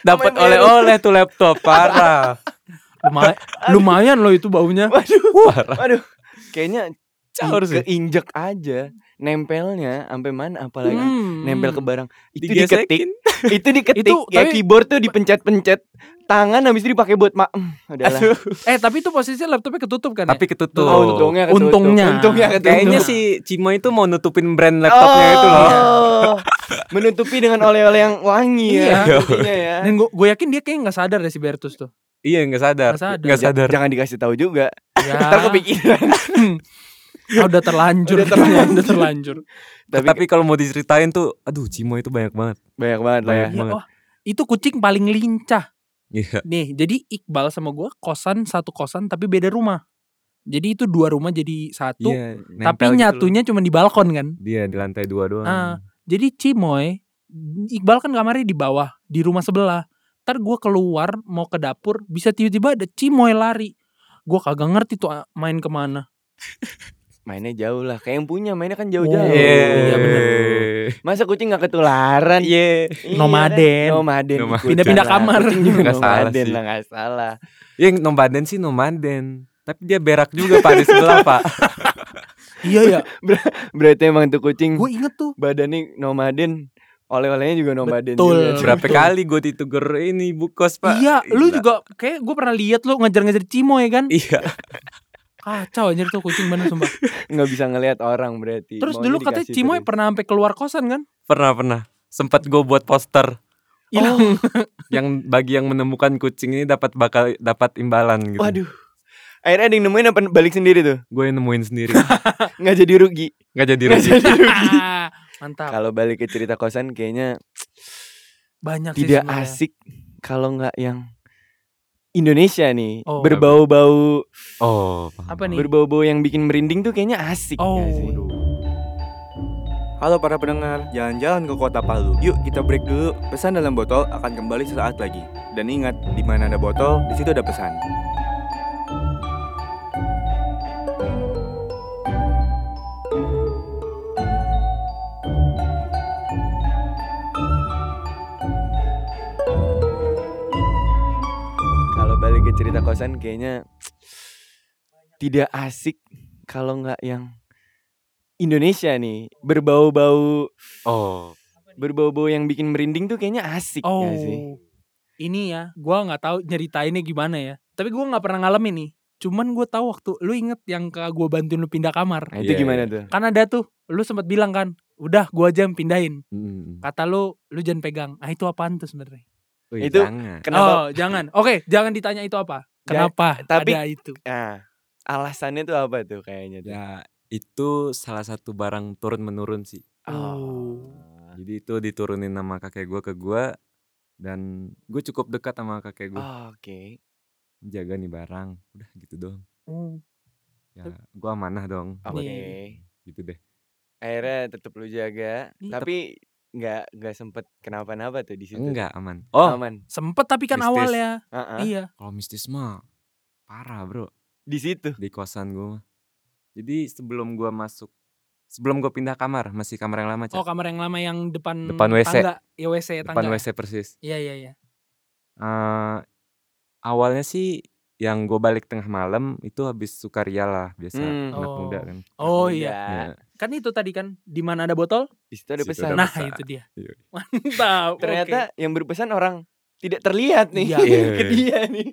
S3: Dapat
S1: main
S3: oleh-oleh tuh laptop parah.
S2: Lumay- lumayan loh itu baunya.
S1: Waduh.
S3: parah.
S1: Waduh. Kayaknya
S3: Caur
S1: Iya.
S3: sih.
S1: keinjek aja nempelnya sampai mana apalagi
S2: Hmm.
S1: kan? nempel ke barang itu
S3: Digesekin.
S1: diketik itu diketik
S2: Itu,
S1: ya
S2: tapi-
S1: keyboard tuh dipencet-pencet tangan habis itu dipakai buat ma Hmm, udahlah
S3: Aduh.
S2: Eh tapi itu posisinya laptopnya ketutup kan
S3: Tapi
S2: ya?
S3: ketutup.
S1: Oh, untungnya ketutup.
S2: Untungnya.
S1: untungnya ketutup.
S3: Kayaknya si Cimo itu mau nutupin brand laptopnya itu loh.
S1: Oh, menutupi dengan oleh-oleh yang wangi
S2: Iya.
S1: ya intinya ya
S2: Dan gue gue yakin dia kayaknya nggak sadar deh si Bertus tuh.
S3: Iya nggak sadar,
S2: Nggak sadar.
S3: nggak
S1: Ja-
S3: sadar.
S1: jangan dikasih tahu juga
S2: Ya.
S1: ntar kepikiran
S2: Ah, udah terlanjur.
S1: Udah terlanjur.
S2: udah terlanjur.
S1: tapi,
S3: Tapi kalau mau diceritain tuh, aduh Cimo itu banyak banget.
S1: banyak banget lah ya
S3: Banyak.
S2: Ya,
S3: banget.
S2: wah, itu kucing paling lincah.
S3: Iya.
S2: Nih, jadi Iqbal sama gua kosan satu kosan tapi beda rumah. Jadi itu dua rumah jadi satu,
S3: Iya,
S2: tapi
S3: nempel gitu
S2: nyatunya cuma di balkon kan.
S3: loh. dia di lantai dua doang.
S2: Ah. Jadi Cimoy, Iqbal kan kamarnya di bawah, di rumah sebelah. Ntar gua keluar mau ke dapur, bisa tiba-tiba ada Cimoy lari. Gua kagak ngerti tuh ah, main kemana.
S1: mainnya jauh lah kayak yang punya mainnya kan
S2: Oh,
S1: jauh-jauh
S2: iya bener.
S1: masa kucing nggak ketularan
S3: Iya.
S1: Iya,
S2: Nomaden.
S1: kan? Nomaden.
S3: Nomaden.
S1: ikut
S2: Pindah-pindah
S1: lah.
S2: kamar.
S1: Kucing juga
S3: Iya, Nggak salah
S1: nomaden
S3: sih.
S1: lah nggak salah.
S3: Yang Iya, nomaden sih nomaden. Tapi dia berak juga pak di sebelah pak.
S2: Iya ya,
S1: Berarti emang tuh kucing
S2: gue inget tuh.
S1: badannya nomaden, oleh-olehnya juga nomaden.
S2: Betul.
S1: juga.
S3: Berapa
S2: Betul.
S3: kali gue ditegur ini bukos pak?
S2: iya, lu
S3: Gila.
S2: juga kayak gue pernah lihat lu ngejar-ngejar Cimoy kan.
S3: Iya.
S2: Kacau anjir tuh kucing bener sumpah.
S1: nggak bisa ngelihat orang berarti.
S2: Terus
S1: Maunya
S2: dulu katanya
S1: dikasih
S2: Cimoy
S1: terus.
S2: pernah sampai keluar kosan kan?
S3: Pernah pernah. Sempat gue buat poster
S2: Hilang.
S3: yang bagi yang menemukan kucing ini dapat bakal dapat imbalan gitu.
S1: Waduh. Akhirnya ada yang nemuin apa balik sendiri tuh?
S3: Gue nemuin sendiri.
S1: Nggak jadi rugi.
S3: Gak jadi
S1: Nggak
S3: rugi.
S1: jadi rugi.
S2: Ah, Mantap.
S1: Kalau balik ke cerita kosan kayaknya
S2: Banyak sih
S1: tidak
S2: sebenarnya.
S1: asik kalau nggak yang Indonesia nih
S2: Oh.
S1: berbau-bau
S3: Oh. paham,
S2: Apa
S3: paham.
S2: nih?
S1: berbau-bau yang bikin merinding tuh kayaknya asik
S2: Oh.
S1: nggak sih? Halo para pendengar, jalan-jalan ke kota Palu. Yuk kita break dulu. Pesan dalam botol akan kembali sesaat lagi. Dan ingat, di mana ada botol, di situ ada pesan. Kalau balik ke cerita kosan kayaknya tidak asik kalau nggak yang Indonesia nih berbau-bau
S3: Oh.
S1: berbau-bau yang bikin merinding tuh kayaknya asik
S2: Oh.
S1: nggak sih?
S2: Ini ya, gua nggak tahu nyeritainnya gimana ya. Tapi gua nggak pernah ngalamin nih. Cuman gue tahu waktu lu inget yang ke gua bantuin lu pindah kamar.
S1: Nah, itu
S3: Iya,
S1: gimana
S3: iya.
S1: tuh?
S2: Kan ada tuh, lu sempat bilang kan, udah gua aja yang pindahin.
S3: Mm.
S2: Kata lu, lu jangan pegang. Ah itu apaan tuh sebenarnya?
S3: Wih,
S1: Itu-
S3: jangan.
S1: Kenapa?
S2: Oh jangan. Oke, jangan ditanya itu apa.
S1: Ja-
S2: Kenapa
S1: tapi-
S2: ada itu?
S1: Nah, alasannya tuh apa tuh kayaknya tuh?
S3: Ya itu salah satu barang turun menurun sih.
S1: Oh.
S3: Jadi itu diturunin nama kakek gua ke gua dan gue cukup dekat sama
S1: Oh,
S3: kakek gua
S1: Oke.
S3: jaga nih barang udah gitu doang
S2: Hmm.
S3: ya gua amanah dong
S1: Oke.
S2: Iya, Nih.
S3: gitu deh
S1: Akhirnya tetap lu jaga,
S2: Ih,
S1: tapi nggak nggak sempet kenapa-napa tuh di situ.
S3: enggak aman oh
S1: Aman.
S2: Sempet tapi kan
S3: Mistis.
S2: awal ya.
S1: Ah, ah.
S2: Iya.
S3: kalau mistis mah parah bro
S1: Di situ.
S3: di kosan gua mah jadi sebelum gua masuk sebelum gua pindah kamar masih kamar yang lama Cak.
S2: Oh kamar yang lama yang depan
S3: Depan WC.
S2: tangga. Ya WC
S3: depan
S2: tangga.
S3: wc persis
S2: Iya iya iya.
S3: Eh, awalnya sih yang gue balik tengah malam itu habis sukaria lah biasa
S1: Hmm.
S3: anak
S2: Oh.
S3: muda kan
S2: Oh iya.
S1: Enggak.
S3: Ya,
S2: Kan itu tadi kan di mana ada botol?
S1: Di situ ada
S3: Situ
S1: pesan.
S3: ada
S2: Nah,
S3: besar.
S2: itu dia.
S3: Iya.
S2: Mantap. oke.
S1: Ternyata yang berpesan orang tidak terlihat nih.
S2: Iya.
S1: Ke dia nih.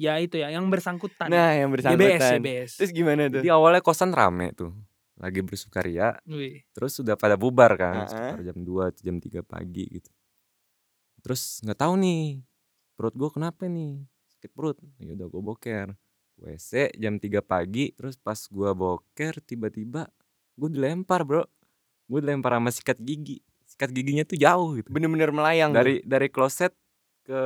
S2: ya itu ya yang bersangkutan.
S1: Nah, yang
S2: GBS
S1: bersangkutan.
S2: GBS.
S1: Terus gimana tuh?
S3: jadi awalnya kosan rame tuh lagi bersukaria
S2: Wih.
S3: terus sudah pada bubar
S1: Ah,
S3: kan sekitar jam 2 atau jam 3 pagi gitu terus nggak tahu nih perut gue kenapa nih sakit perut ya udah gue boker WC jam 3 pagi terus pas gua boker tiba-tiba gue dilempar bro gue dilempar sama sikat gigi sikat giginya tuh jauh gitu
S1: Bener-bener melayang. tuh.
S3: dari dari kloset ke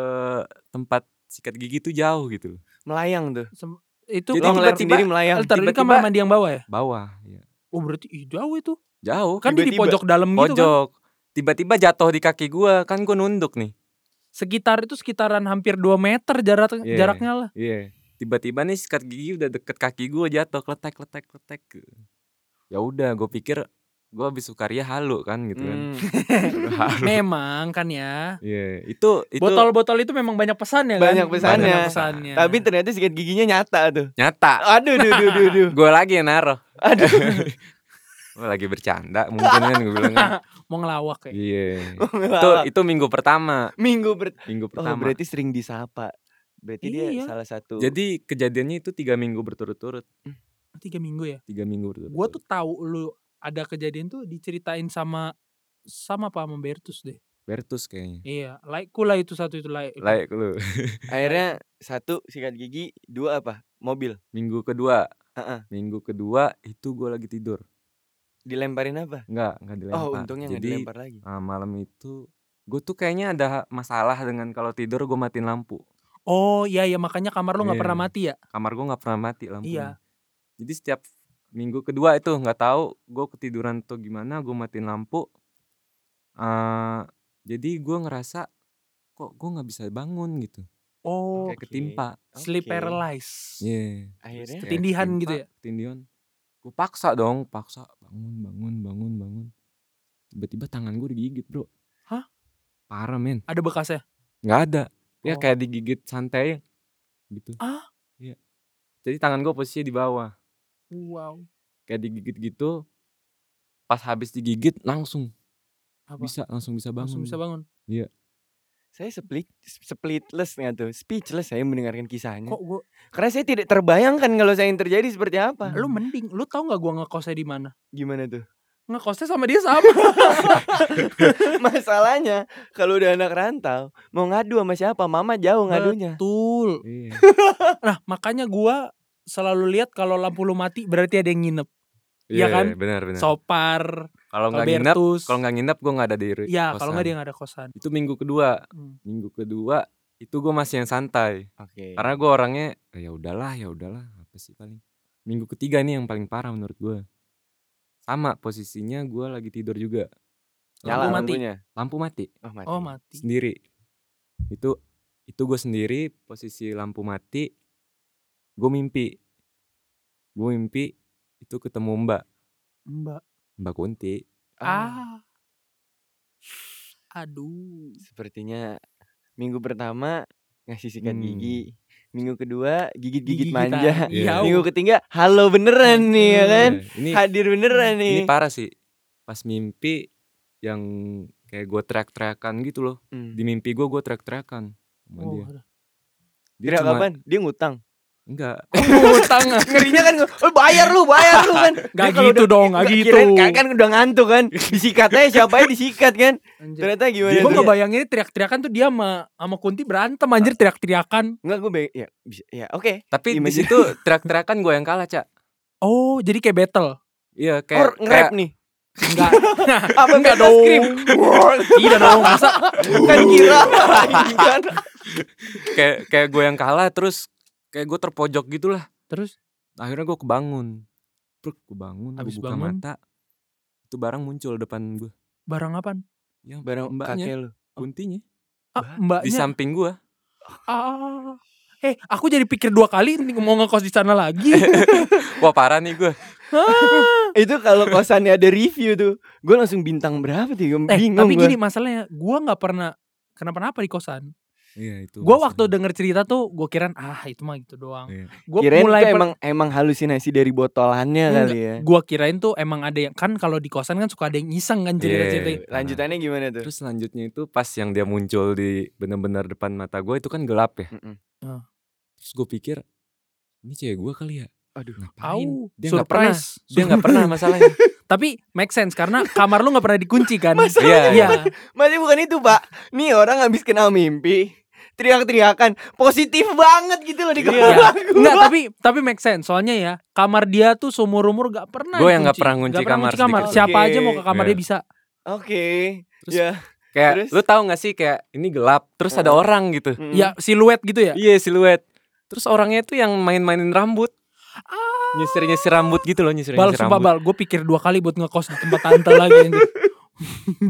S3: tempat sikat gigi tuh jauh gitu loh.
S1: melayang tuh.
S2: Sem- itu
S3: Jadi
S1: Lo ngeliat
S2: kamar
S3: tiba-tiba-
S1: sendiri melayang.
S2: Ntar, ini
S3: tiba-tiba-
S2: kamar mandi yang bawah ya?
S3: bawah ya.
S2: Oh berarti ih, jauh itu.
S3: jauh
S2: Kan dia di
S1: Tiba-tiba.
S2: pojok dalam gitu kan.
S3: pojok tiba-tiba jatuh di kaki gua kan gue nunduk nih
S2: Sekitar itu sekitaran hampir 2 meter jarak
S3: Iya.
S2: jaraknya lah.
S3: iya tiba-tiba nih sikat gigi udah deket kaki gua jatuh kletek kletek kletek ya udah gue pikir gua habis sukaria halu kan gitu kan
S1: Hmm.
S3: Halu.
S2: Memang kan ya.
S3: Iya, itu itu
S2: Botol-botol itu memang banyak pesannya kan?
S1: Banyak pesannya.
S2: Banyak pesannya.
S1: Tapi ternyata sikat giginya nyata tuh.
S3: nyata
S1: Aduh, duh, duh, duh, duh.
S3: gue lagi yang naruh
S1: Aduh.
S3: Gua lagi bercanda mungkin kan gue bilang kan.
S2: mau ngelawak ya.
S3: iya itu itu minggu pertama
S1: minggu ber Oh,
S3: minggu pertama
S1: berarti sering disapa. Berarti dia
S2: Iya.
S1: salah satu.
S3: Jadi kejadiannya itu tiga minggu berturut-turut,
S2: Tiga minggu ya.
S3: tiga minggu berturut.
S2: Gua tuh tahu lu ada kejadian tuh diceritain sama sama Pak Membertus deh.
S3: Bertus kayaknya.
S2: Iya, laikku lah itu satu itu laik.
S1: Iya.
S3: Like lu.
S1: akhirnya satu sikat gigi, dua apa? Mobil.
S3: Minggu kedua,
S1: Heeh.
S3: minggu kedua itu gue lagi tidur.
S1: Dilemparin apa?
S3: Enggak, enggak dilempar.
S1: Oh, untungnya nggak
S3: Jadi
S1: dilempar lagi.
S3: ah, malam itu gue tuh kayaknya ada masalah dengan kalau tidur gue matiin lampu.
S2: Oh iya ya makanya kamar lu nggak
S3: Iya.
S2: pernah mati ya.
S3: Kamar gue nggak pernah mati lampunya.
S2: Iya.
S3: Jadi setiap minggu kedua itu nggak tahu gue ketiduran atau gimana gue matiin lampu. Ah, jadi gue ngerasa kok gue nggak bisa bangun gitu.
S2: Oh,
S1: Oke.
S3: Kayak ketimpa.
S2: sleep
S1: Oke.
S2: paralysis.
S3: Iya.
S1: Akhirnya
S3: Terus kayak
S2: Ketindihan gitu ya?
S3: Ketindihan. Gue paksa dong, paksa bangun, bangun, bangun, bangun. Tiba-tiba tangan gue digigit bro.
S2: Hah?
S3: Parah men,
S2: Ada bekasnya.
S3: nggak ada. Ya
S2: Oh.
S3: kayak digigit santai gitu.
S2: Ah?
S3: Iya. Jadi tangan gue posisinya di bawah,
S2: Wow.
S3: kayak digigit gitu. Pas habis digigit langsung
S2: Apa?
S3: bisa, langsung bisa bangun.
S2: Langsung bisa bangun.
S1: saya split splitless nggak tuh, speechless saya mendengarkan kisahnya.
S2: Kok gua
S1: Karena saya tidak terbayangkan kalau saya yang terjadi seperti apa.
S2: lu mending lu tau nggak gua ngekosnya di mana?
S1: Gimana tuh?
S2: Ngekosnya sama dia sama.
S1: Masalahnya kalau udah anak rantau mau ngadu sama siapa? Mama jauh ngadunya.
S2: Betul.
S3: Iya.
S2: Nah, makanya gua selalu lihat kalau lampu lu mati berarti ada yang nginep. Iya kan?
S3: Benar benar.
S2: Sopar,
S3: gitu. kalau nggak nginep,
S2: Albertus.
S3: kalau nggak nginep gue nggak ada di ru-
S2: Iya, kalau nggak dia
S3: kosan.
S2: nggak ada kosan.
S3: Itu minggu kedua,
S2: Hmm.
S3: minggu kedua itu gue masih yang santai.
S1: Oke.
S3: Karena gue orangnya "Eh, ya udahlah ya udahlah apa sih paling minggu ketiga nih yang paling parah menurut gue sama posisinya gue lagi tidur juga
S1: nyala
S2: Lampu mati.
S1: lampunya.
S3: lampu mati
S1: Oh, mati.
S2: Oh, mati.
S3: sendiri itu itu gue sendiri posisi lampu mati gue mimpi gue mimpi itu ketemu mbak
S2: Mbak.
S3: mbak Kunti
S1: Ah,
S2: Ah. Aduh.
S1: sepertinya minggu pertama ngasih sikat
S3: Hmm.
S1: gigi, minggu kedua gigit-gigit
S2: Gigit-gigitan.
S1: manja.
S2: Iya.
S1: Minggu ketiga halo beneran nih ya kan?
S3: Iya, ini
S1: Hadir beneran nih.
S3: ini parah sih pas mimpi yang kayak gue teriak-teriakan gitu loh
S1: Hmm.
S3: di mimpi gue gue teriak-teriakan sama
S2: Oh,
S3: dia.
S2: ada.
S3: Dia
S1: Kira
S3: cuma-
S1: kapan? Dia ngutang.
S3: Enggak.
S2: Utang.
S1: Ngerinya kan oh, bayar lu, bayar lu kan.
S2: Gak
S1: Dia kalau
S2: gitu dong, gak
S1: Nggak,
S2: gitu.
S1: kirain kan, kan udah ngantuk kan. Disikat aja siapa aja disikat kan. Ternyata gimana?
S2: Gue
S1: tuh?
S2: ngebayangin teriak-teriakan tuh dia sama, sama Kunti berantem anjir teriak-teriakan.
S1: Enggak gue be- ya bisa- ya oke.
S3: Tapi di
S1: Imagine-
S3: situ teriak-teriakan gue yang kalah, Cak.
S2: Oh, jadi kayak battle.
S3: Iya,
S1: Or
S3: kayak
S1: nge-rap
S3: kayak-
S1: nih.
S2: Enggak. Nah,
S1: Apa
S2: enggak
S1: battle
S2: dong.
S1: script?
S2: Tidak dong, masa
S1: kan kira kan.
S3: kayak kayak gue yang kalah terus kayak gue terpojok gitulah
S2: Terus
S3: akhirnya gue kebangun Pruk, gue bangun gue
S2: Habis
S3: buka
S2: bangun?
S3: mata itu barang muncul depan gue
S2: barang apaan?
S3: yang
S1: Barang
S3: mbaknya
S1: kakek lu.
S3: kuntinya
S2: Ah,
S3: di
S2: mbaknya.
S3: samping gue
S2: Ah. Eh, aku jadi pikir dua kali nih mau ngekos di sana lagi.
S3: Eh, wah parah nih gue
S1: Itu kalau kosannya ada review tuh, gue langsung bintang berapa tuh? Gua
S2: eh,
S1: bingung
S2: tapi
S1: gua.
S2: gini masalahnya, gua nggak pernah kenapa-napa di kosan.
S3: iya itu
S2: Gua waktu denger cerita tuh gue kirain ah itu mah gitu doang.
S3: Iya.
S2: Gua
S1: Kirain
S2: mulai
S1: tuh
S2: per-
S1: emang emang halusinasi dari botolannya
S2: Enggak,
S1: kali ya.
S2: gua kirain tuh emang ada yang kan kalau di kosan kan suka ada yang iseng kan cerita-cerita.
S3: Iya.
S1: Lanjutannya gimana tuh?
S3: terus selanjutnya itu pas yang dia muncul di benar-benar depan mata gue itu kan gelap ya
S1: Mm-mm.
S3: terus gue pikir ini cewek gue kali ya
S1: Aduh.
S3: ngapain
S2: Au,
S3: dia nggak pernah
S2: surprise.
S3: dia nggak pernah masalahnya
S2: Tapi make sense karena kamar lu nggak pernah dikunci kan?
S3: Iya,
S2: Iya.
S1: Masih bukan itu, Pak. Nih orang habis kena mimpi, teriak-teriakan, positif banget gitu loh di
S2: Iya.
S1: kepala gua.
S2: Enggak, tapi tapi make sense. Soalnya ya, kamar dia tuh seumur umur gak pernah.
S3: Gue yang
S2: dikunci.
S3: nggak pernah ngunci
S2: Nggak pernah
S3: kamar
S1: sedikit.
S2: Siapa
S1: Oke.
S2: aja mau ke kamar
S3: Iya.
S2: dia bisa.
S1: Oke.
S3: Terus-
S1: Ya.
S3: kayak
S1: Terus?
S3: lu tahu nggak sih kayak ini gelap terus ada
S1: Heeh.
S3: orang gitu
S1: Mm.
S2: Ya siluet gitu ya.
S3: iya siluet terus orangnya itu yang main-mainin rambut
S2: Ah.
S3: nyisir nyisir rambut gitu loh nyisir
S2: Bal,
S3: nyisir
S2: sumpah
S3: rambut
S2: bal, gue pikir dua kali buat ngekos di tempat tante lagi. anjir.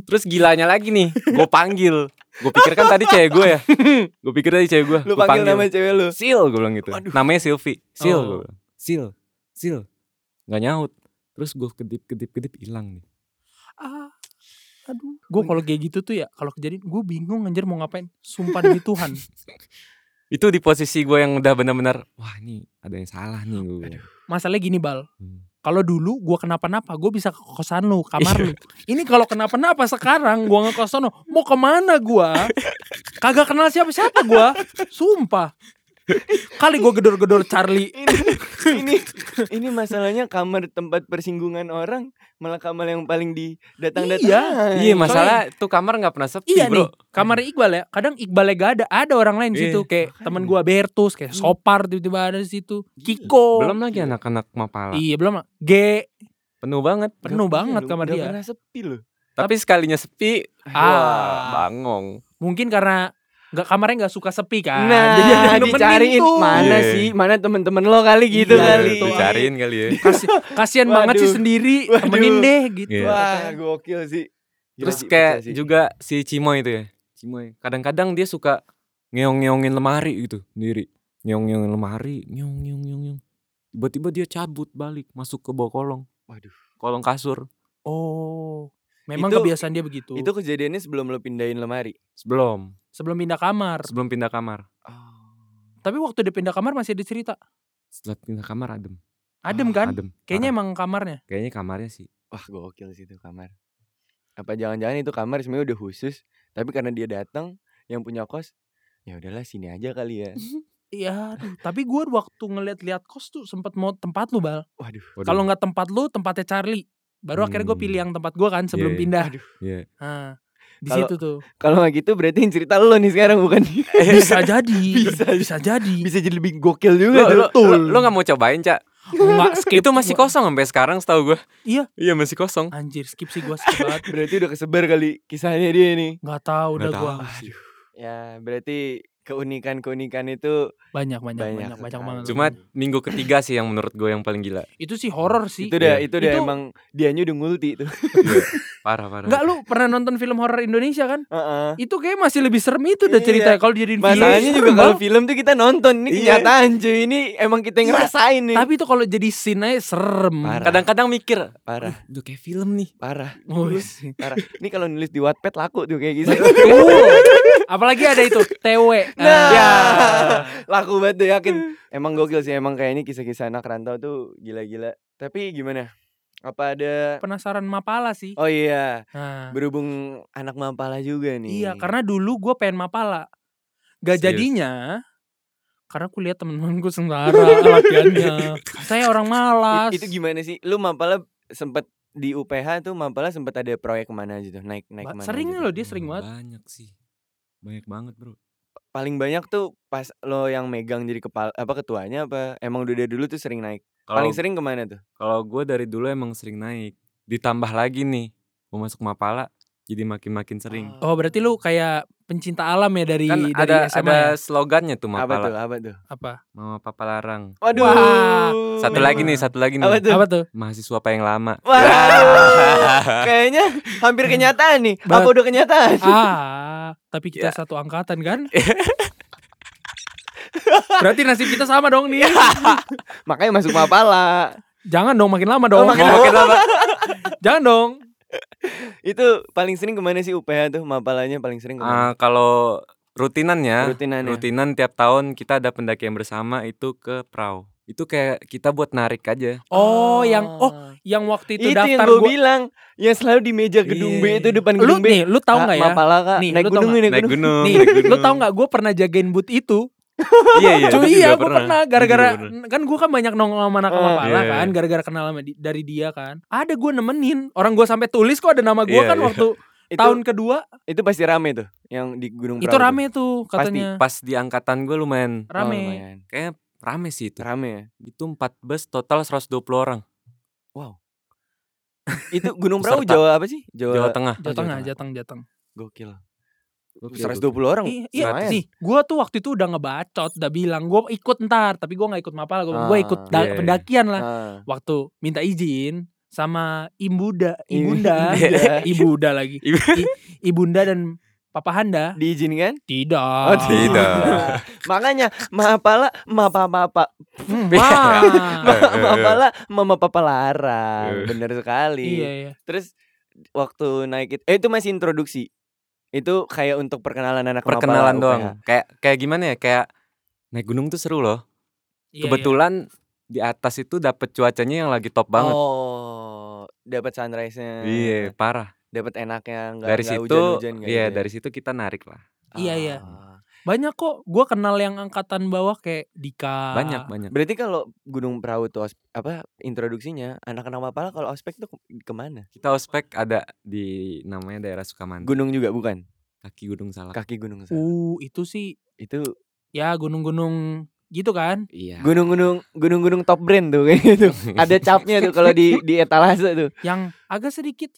S3: terus gilanya lagi nih gue panggil gue pikir kan tadi cewek gue ya gue pikir tadi cewek gue
S1: Lu
S3: gue
S1: panggil nama cewek lu.
S3: sil gue bilang gitu
S1: Waduh.
S3: namanya Silvi sil
S2: Oh.
S3: gue bilang sil sil nggak nyaut terus gue kedip kedip kedip hilang nih
S2: Ah. Aduh, gue kalau kayak gitu tuh ya, kalau kejadian gue bingung anjir mau ngapain. Sumpah demi Tuhan.
S3: itu di posisi gue yang udah benar-benar wah ini ada yang salah nih gue
S2: Masalahnya gini bal,
S3: Hmm.
S2: kalau dulu gue kenapa-napa, gue bisa ke kosan lu, kamar
S3: Iya.
S2: lu. Ini kalau kenapa-napa sekarang gue ngekos sono, mau kemana gue? Kagak kenal siapa-siapa gue, sumpah. Kali gue gedor-gedor Charlie.
S1: Ini ini ini masalahnya kamar tempat persinggungan orang malah kamar yang paling didatang datang
S3: iya masalah tuh kamar nggak pernah sepi
S2: Iya
S3: bro
S2: nih, kamar Iqbal ya. Kadang Iqbalnya gak ada, ada orang lain
S3: Iya, Hmm.
S2: situ kayak
S1: makanya.
S2: temen gue Bertus, kayak Sopar tiba-tiba ada di situ, Kiko.
S3: Iya. belum lagi anak-anak mapala
S2: Iya belum. lah. G
S3: penuh banget
S2: penuh banget kamar
S1: nggak
S2: dia.
S1: Iya, pernah sepi loh.
S3: tapi sekalinya sepi wah
S2: Ah,
S3: bangong
S2: mungkin karena nggak kamarnya nggak suka sepi kan.
S1: Nah,
S2: Jadi ada yang nemenin
S1: dicariin
S2: tuh.
S1: mana
S3: Iya.
S1: sih? Mana temen-temen lo kali gitu
S2: Iya,
S1: kali.
S2: betul.
S3: dicariin kali ya
S2: Kasi- kasihan banget sih
S1: Waduh.
S2: sendiri,
S1: Waduh.
S2: temenin deh gitu.
S3: Iya.
S1: Wah, gokil sih. Gila
S3: Terus
S1: sih,
S3: kayak
S1: pecah sih.
S3: juga si Cimoy itu ya. Cimoy. Kadang-kadang dia suka ngeong-ngeongin lemari gitu sendiri. Ngeong-ngeongin lemari, ngeong ngeong ngeong. ngeong. Tiba-tiba dia cabut balik masuk ke bawah kolong.
S1: Waduh.
S3: Kolong kasur
S2: Oh, memang
S1: Itu-
S2: kebiasaan dia begitu.
S1: itu kejadiannya sebelum lo pindahin lemari.
S3: sebelum
S2: sebelum pindah kamar.
S3: sebelum pindah kamar.
S1: Oh.
S2: Tapi waktu dia pindah kamar masih ada cerita.
S3: Setelah pindah kamar adem.
S2: Adem
S3: Ah,
S2: kan?
S3: Adem.
S2: Kayaknya
S3: Parah.
S2: emang kamarnya.
S3: kayaknya kamarnya sih.
S1: Wah, gokil sih itu kamar. Apa jangan-jangan itu kamar sebenarnya udah khusus, tapi karena dia datang yang punya kos, ya udahlah sini aja kali ya.
S2: Iya, aduh. tapi gue waktu ngeliat-liat kos tuh sempat mau tempat lu bal.
S1: Waduh.
S3: Waduh.
S2: Kalau nggak tempat lu, tempatnya Charlie. Baru akhirnya gue
S3: Hmm.
S2: pilih yang tempat gue kan sebelum
S3: Iya, iya.
S2: pindah.
S3: Iya.
S2: Nah, di
S1: Kalau-
S2: situ tuh
S1: Kalau nggak gitu berarti yang cerita lo nih sekarang bukan dia.
S2: bisa jadi,
S1: Bisa.
S2: bisa, jadi.
S1: bisa jadi lebih gokil juga
S3: Lo,
S1: tuh.
S3: lo, lo, lo gak mau cobain, Cak?
S2: Nggak skip.
S3: Itu masih
S2: gua.
S3: kosong sampai sekarang setahu gua.
S2: Iya.
S3: Iya, masih kosong.
S2: Anjir, skip sih gue skip banget.
S1: Berarti udah kesebar kali kisahnya dia nih.
S2: Gak tau, udah
S3: Nggak
S2: gue
S3: tahu sih.
S1: Ya, berarti keunikan-keunikan itu
S2: banyak banyak banyak banyak,
S1: sekali.
S2: banget.
S3: Cuma minggu ketiga sih yang menurut gue yang paling gila.
S2: itu sih horor sih.
S1: itu udah
S3: Iya.
S1: itu udah
S2: Itu-
S1: emang dianya udah ngulti itu.
S3: Parah, parah.
S2: Enggak lu pernah nonton film horor Indonesia kan?
S1: Heeh.
S2: Itu kayak masih lebih serem itu udah
S1: Iya.
S2: ceritanya kalau dijadiin film.
S1: Masalahnya
S2: serem
S1: juga kalau
S2: banget.
S1: film tuh kita nonton ini
S3: Iya.
S1: kenyataan cuy ini emang kita yang
S2: Iya,
S1: ngerasain nih.
S2: tapi itu kalau jadi scene aja serem.
S1: Parah.
S3: Kadang-kadang mikir,
S1: parah,
S3: udah kayak film nih.
S1: parah,
S2: Wih.
S1: parah. Ini kalau nulis di Wattpad laku tuh kayak gitu.
S2: Uh, apalagi ada itu TW.
S1: Nah.
S2: Ya.
S1: laku banget tuh yakin.
S2: Iya.
S1: Emang gokil sih emang kayak ini kisah-kisah anak rantau tuh gila-gila. Tapi gimana? Apa ada
S2: Penasaran mapala sih.
S1: Oh iya,
S2: Nah.
S1: berhubung anak mampala juga nih.
S2: Iya, karena dulu gue pengen mapala. Gak
S3: Serius?
S2: jadinya karena aku lihat temen-temen gue sengsara latihannya. Saya orang malas.
S1: I- itu gimana sih? Lu mampala sempet di UPH tuh mampala sempet ada proyek kemana aja tuh naik naik
S2: Ba-
S1: kemana
S2: sering
S1: aja tuh?
S2: loh dia sering banget.
S3: Banyak sih. Banyak banget, Bro.
S1: paling banyak tuh pas lo yang megang jadi kepala apa ketuanya apa emang udah dari dulu tuh sering naik
S3: Kalau
S1: paling sering kemana tuh
S3: kalau gue dari dulu emang sering naik. Ditambah lagi nih, mau masuk Mapala jadi makin-makin sering.
S2: Oh berarti lu kayak pencinta alam ya dari
S3: Kan
S2: dari
S3: ada
S2: SMA
S3: ada
S2: ya?
S3: slogannya tuh
S1: apa tuh
S3: Mapala.
S1: apa tuh
S2: apa?
S3: Mama Papa Larang.
S1: waduh
S2: Wah,
S3: Satu
S2: Memang.
S3: lagi nih, satu lagi
S1: Apa
S3: nih.
S1: tuh?
S2: Apa tuh?
S3: Mahasiswa paling lama.
S1: Wah, kayaknya hampir kenyataan nih. Apa
S2: Banget.
S1: udah kenyataan?
S2: Ah, tapi kita
S3: Ya.
S2: satu angkatan kan? Berarti nasib kita sama dong nih.
S1: Makanya masuk Mapala.
S2: Jangan dong makin lama
S1: Oh,
S2: dong.
S1: makin
S3: Mau makin lama.
S2: Jangan dong.
S1: Itu paling sering kemana sih UPH tuh? Mapalanya paling sering kemana?
S3: Ah, kalau rutinan ya,
S1: Rutinan ya?
S3: rutinan tiap tahun kita ada pendakian bersama itu ke Prau. Itu kayak kita buat narik aja.
S2: Oh, yang
S1: Ah.
S2: oh yang waktu itu,
S1: itu, yang
S2: daftar
S1: gue
S2: gua-
S1: bilang yang selalu di meja gedung
S3: Iya.
S1: B itu depan
S2: Lu
S1: gedung B.
S2: nih, lu tahu
S1: Ah,
S2: nggak ya?
S1: Mapala kak,
S2: Nih,
S1: naik
S2: lu tau
S1: gunung nih, naik
S3: Naik
S1: gunung.
S3: gunung,
S2: Nih,
S3: Oh, naik
S2: lu
S3: gunung.
S2: tau nggak gue pernah jagain boot itu?
S3: Iya, iya.
S2: Cuy,
S3: itu
S2: iya
S3: juga
S2: gue pernah. Gara-gara
S3: Itu juga pernah.
S2: kan gue kan banyak nongol sama anak sama
S1: Ah.
S2: Pala
S3: Iya,
S2: kan,
S3: iya.
S2: gara-gara kenal sama di- dari dia kan. Ada gue nemenin. Orang gue sampai tulis kok ada nama gue
S3: Iya,
S2: kan
S3: iya.
S2: waktu
S1: Itu,
S2: tahun kedua
S1: itu pasti rame tuh yang di gunung
S2: itu
S1: Prau tuh.
S2: rame tuh katanya.
S3: Pas di angkatan gue
S1: Oh,
S3: lumayan
S2: Rame.
S1: lumayan.
S3: kayak rame sih itu.
S1: Rame ya.
S3: Itu 4 bus total 120 orang.
S1: Itu Gunung Prau
S3: Peserta.
S1: Jawa apa sih?
S3: Jawa Tengah.
S1: Oh, Jawa
S2: Jateng ah,
S1: Tengah.
S2: jateng, jateng.
S1: Gokil.
S3: Gokil,
S1: 120
S3: gokil.
S1: orang.
S2: Iya, iya
S1: lumayan.
S2: nih, gue tuh waktu itu udah ngebacot, udah bilang gue ikut ntar, tapi gue nggak ikut mapala, gue
S1: Ah,
S2: ikut da-
S3: iya, iya.
S2: pendakian lah.
S1: Ah.
S2: Waktu minta izin sama imbuda, ibunda,
S1: Ibunda.
S2: ibuda lagi,
S3: Iya. Ibu-
S2: I- ibunda dan papa handa
S1: Diizinkan?
S2: tidak,
S1: Oh,
S3: tidak.
S1: Makanya Mapala, Mapa Mapa,
S2: Hmm, Wah.
S3: Eh, eh, eh.
S1: Mapala, Mama Papa larang.
S3: Eh.
S1: Bener sekali.
S2: iya, iya.
S1: Terus waktu naik itu, eh, itu masih introduksi. Itu kayak untuk perkenalan anak Mapala
S3: Perkenalan
S1: UPH.
S3: doang. Kayak kayak gimana ya? Kayak naik gunung tuh seru loh.
S2: Iya,
S3: Kebetulan di atas itu dapet cuacanya yang lagi top banget.
S1: Oh, dapat sunrise-nya.
S3: Iya, parah.
S1: Dapat enaknya enggak
S3: dari
S1: enggak
S3: situ
S1: hujan-hujan nggak
S3: iya,
S1: gitu ya?
S3: dari situ kita narik lah.
S2: Iya,
S1: Ah.
S2: iya. iya. Banyak kok, gue kenal yang angkatan bawah kayak Dika.
S3: Banyak, banyak.
S1: Berarti kalau Gunung Prau tuh os- apa introduksinya anak-anak Mapala kalau ospek tuh ke- kemana?
S3: Kita ospek ada di namanya daerah Sukamantri.
S1: Gunung juga bukan?
S3: Kaki Gunung Salak.
S1: Kaki gunung. Sa.
S2: Uh, itu sih
S1: Itu
S2: ya gunung-gunung gitu kan?
S3: Iya.
S1: gunung-gunung gunung-gunung top brand tuh kayak gitu. Ada capnya tuh kalau di di etalase tuh.
S2: Yang agak sedikit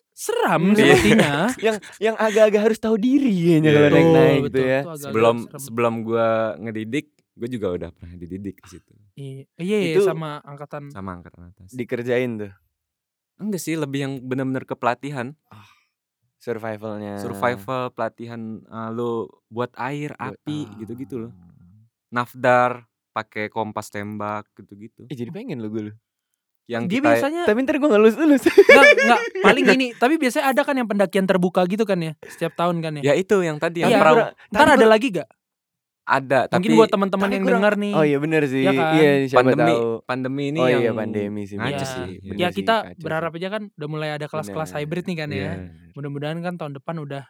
S1: Iya.
S2: seram sepertinya.
S1: Yang yang agak-agak harus tahu diri kayaknya kalau
S3: Betul,
S1: naik-naik tuh ya.
S2: Oh,
S3: Sebelum sebelum gua ngedidik, gue juga udah pernah dididik di situ
S2: Iya, iya, iya,
S1: Itu-
S2: sama angkatan.
S3: sama angkatan atas.
S1: Dikerjain tuh
S3: Enggak sih, lebih yang benar-benar ke pelatihan. Eh.
S1: survivalnya.
S3: survival pelatihan eh, lu buat air api
S1: Ah.
S3: gitu-gitu loh nafdar pakai kompas tembak gitu-gitu
S1: Eh jadi pengen lo gue lo.
S3: yang
S2: Dia
S3: kita
S2: biasanya
S1: Tapi ntar gue ngelus lulus.
S2: enggak, enggak, paling ini, tapi biasanya ada kan yang pendakian terbuka gitu kan ya, setiap tahun kan ya.
S3: ya itu yang tadi
S2: Iya,
S3: yang perahu
S1: kurang-
S2: Ntar
S1: tapi
S2: ada
S1: kurang-
S2: lagi gak?
S3: ada tapi
S2: Mungkin buat teman-teman
S1: tapi
S2: yang
S1: kurang-
S2: dengar nih.
S1: Oh iya bener sih.
S2: Iya kan?
S1: Iya siapa
S3: pandemi
S1: tahu.
S3: pandemi ini
S1: oh
S3: yang
S1: iya pandemi sih.
S3: ngaco
S1: bener
S2: Iya.
S3: sih
S1: bener
S2: Ya
S1: sih,
S2: kita
S1: kacau sih.
S2: berharap aja kan udah mulai ada kelas-kelas
S1: Bener.
S2: hybrid nih kan
S3: Iya.
S2: ya. Mudah-mudahan kan tahun depan udah.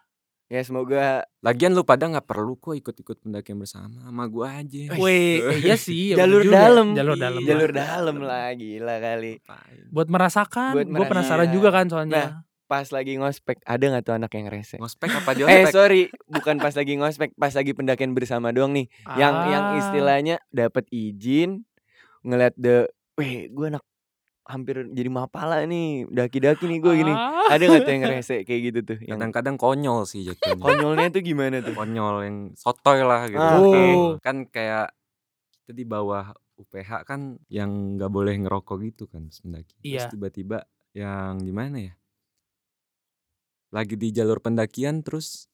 S1: Ya semoga
S3: lagian lu pada nggak perlu kok ikut-ikut pendakian bersama sama gua aja
S2: Weh, eh, iya sih. ya
S1: jalur
S2: bener juga.
S1: dalam.
S2: Jalur
S3: Iya.
S2: dalam. lah.
S1: Jalur dalam lah gila kali.
S3: Ngapain?
S2: Buat merasakan,
S1: Buat
S2: gue penasaran
S1: merasakan. Nah,
S2: juga kan soalnya.
S1: Pas lagi ngospek ada nggak tuh anak yang rese?
S3: Iya, ngospek apa di
S1: Eh
S3: ospek
S1: sorry, bukan pas lagi ngospek, pas lagi pendakian bersama doang nih. Yang yang
S2: Ah,
S1: istilahnya dapat izin ngeliat the, weh gue anak hampir jadi mapala nih, daki-daki nih gue gini.
S2: ah.
S1: Ada nggak tuh yang rese kayak gitu tuh? Yang
S3: kadang-kadang konyol sih jatuhnya
S1: konyolnya tuh gimana tuh?
S3: konyol yang sotoy lah gitu
S1: Ah,
S2: oke.
S3: kan kayak kita di bawah UPH kan yang nggak boleh ngerokok gitu kan pas mendaki
S2: Iya.
S3: terus tiba-tiba yang gimana ya lagi di jalur pendakian terus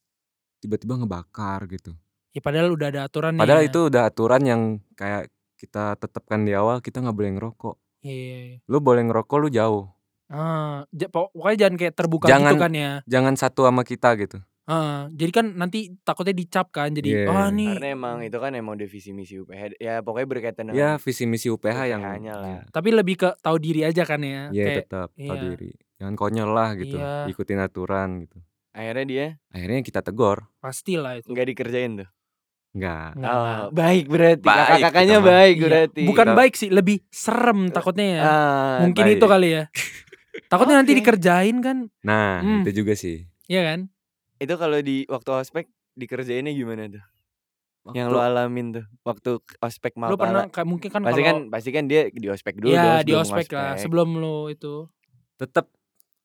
S3: tiba-tiba ngebakar gitu
S2: Ya padahal udah ada aturan ya.
S3: padahal itu udah aturan yang kayak kita tetapkan di awal kita nggak boleh ngerokok
S2: Iya, iya, iya.
S3: lu boleh ngerokok lu jauh
S2: Ah, ja- pok- pokoknya jangan kayak terbuka
S3: Jangan-
S2: gitu kan ya.
S3: jangan satu sama kita gitu
S2: Ah, jadi kan nanti takutnya dicap kan. Jadi
S3: Iya.
S2: ah nih.
S1: Karena emang itu kan emang divisi misi UPH. Ya pokoknya berkaitan
S2: Nah.
S3: ya
S1: dengan
S3: visi misi UPH yang
S1: UPH-nya lah.
S2: Tapi lebih ke tahu diri aja kan ya.
S3: ya
S2: kayak
S3: tetap tahu
S2: iya.
S3: diri jangan konyol lah gitu
S2: Iya.
S3: ikutin aturan gitu
S1: akhirnya dia
S3: akhirnya kita tegor
S2: pastilah itu.
S1: nggak dikerjain tuh.
S3: nggak
S2: Nggak, nggak.
S1: Oh, baik berarti.
S3: Baik,
S1: Kakak-kakaknya
S3: kita mah.
S1: baik
S2: Iya,
S1: berarti.
S2: Bukan
S3: Kita-
S2: baik sih, lebih serem takutnya ya.
S1: Ah,
S2: Mungkin
S3: baik.
S2: itu kali ya. takutnya nanti
S1: Oke.
S2: dikerjain kan,
S3: Nah,
S2: Hmm.
S3: itu juga sih.
S2: Iya kan?
S1: itu kalau di waktu ospek dikerjainnya gimana tuh? Yang lo
S3: Waktu-
S1: alamin tuh waktu ospek
S2: Lu
S1: mapala.
S2: pernah kayak mungkin kan
S1: pasti kan
S2: kalau
S1: pasti kan dia di ospek dulu
S2: Iya
S1: dong
S2: di
S1: sebelum
S2: ospek iya, lah sebelum lu itu. Iya,
S3: tetep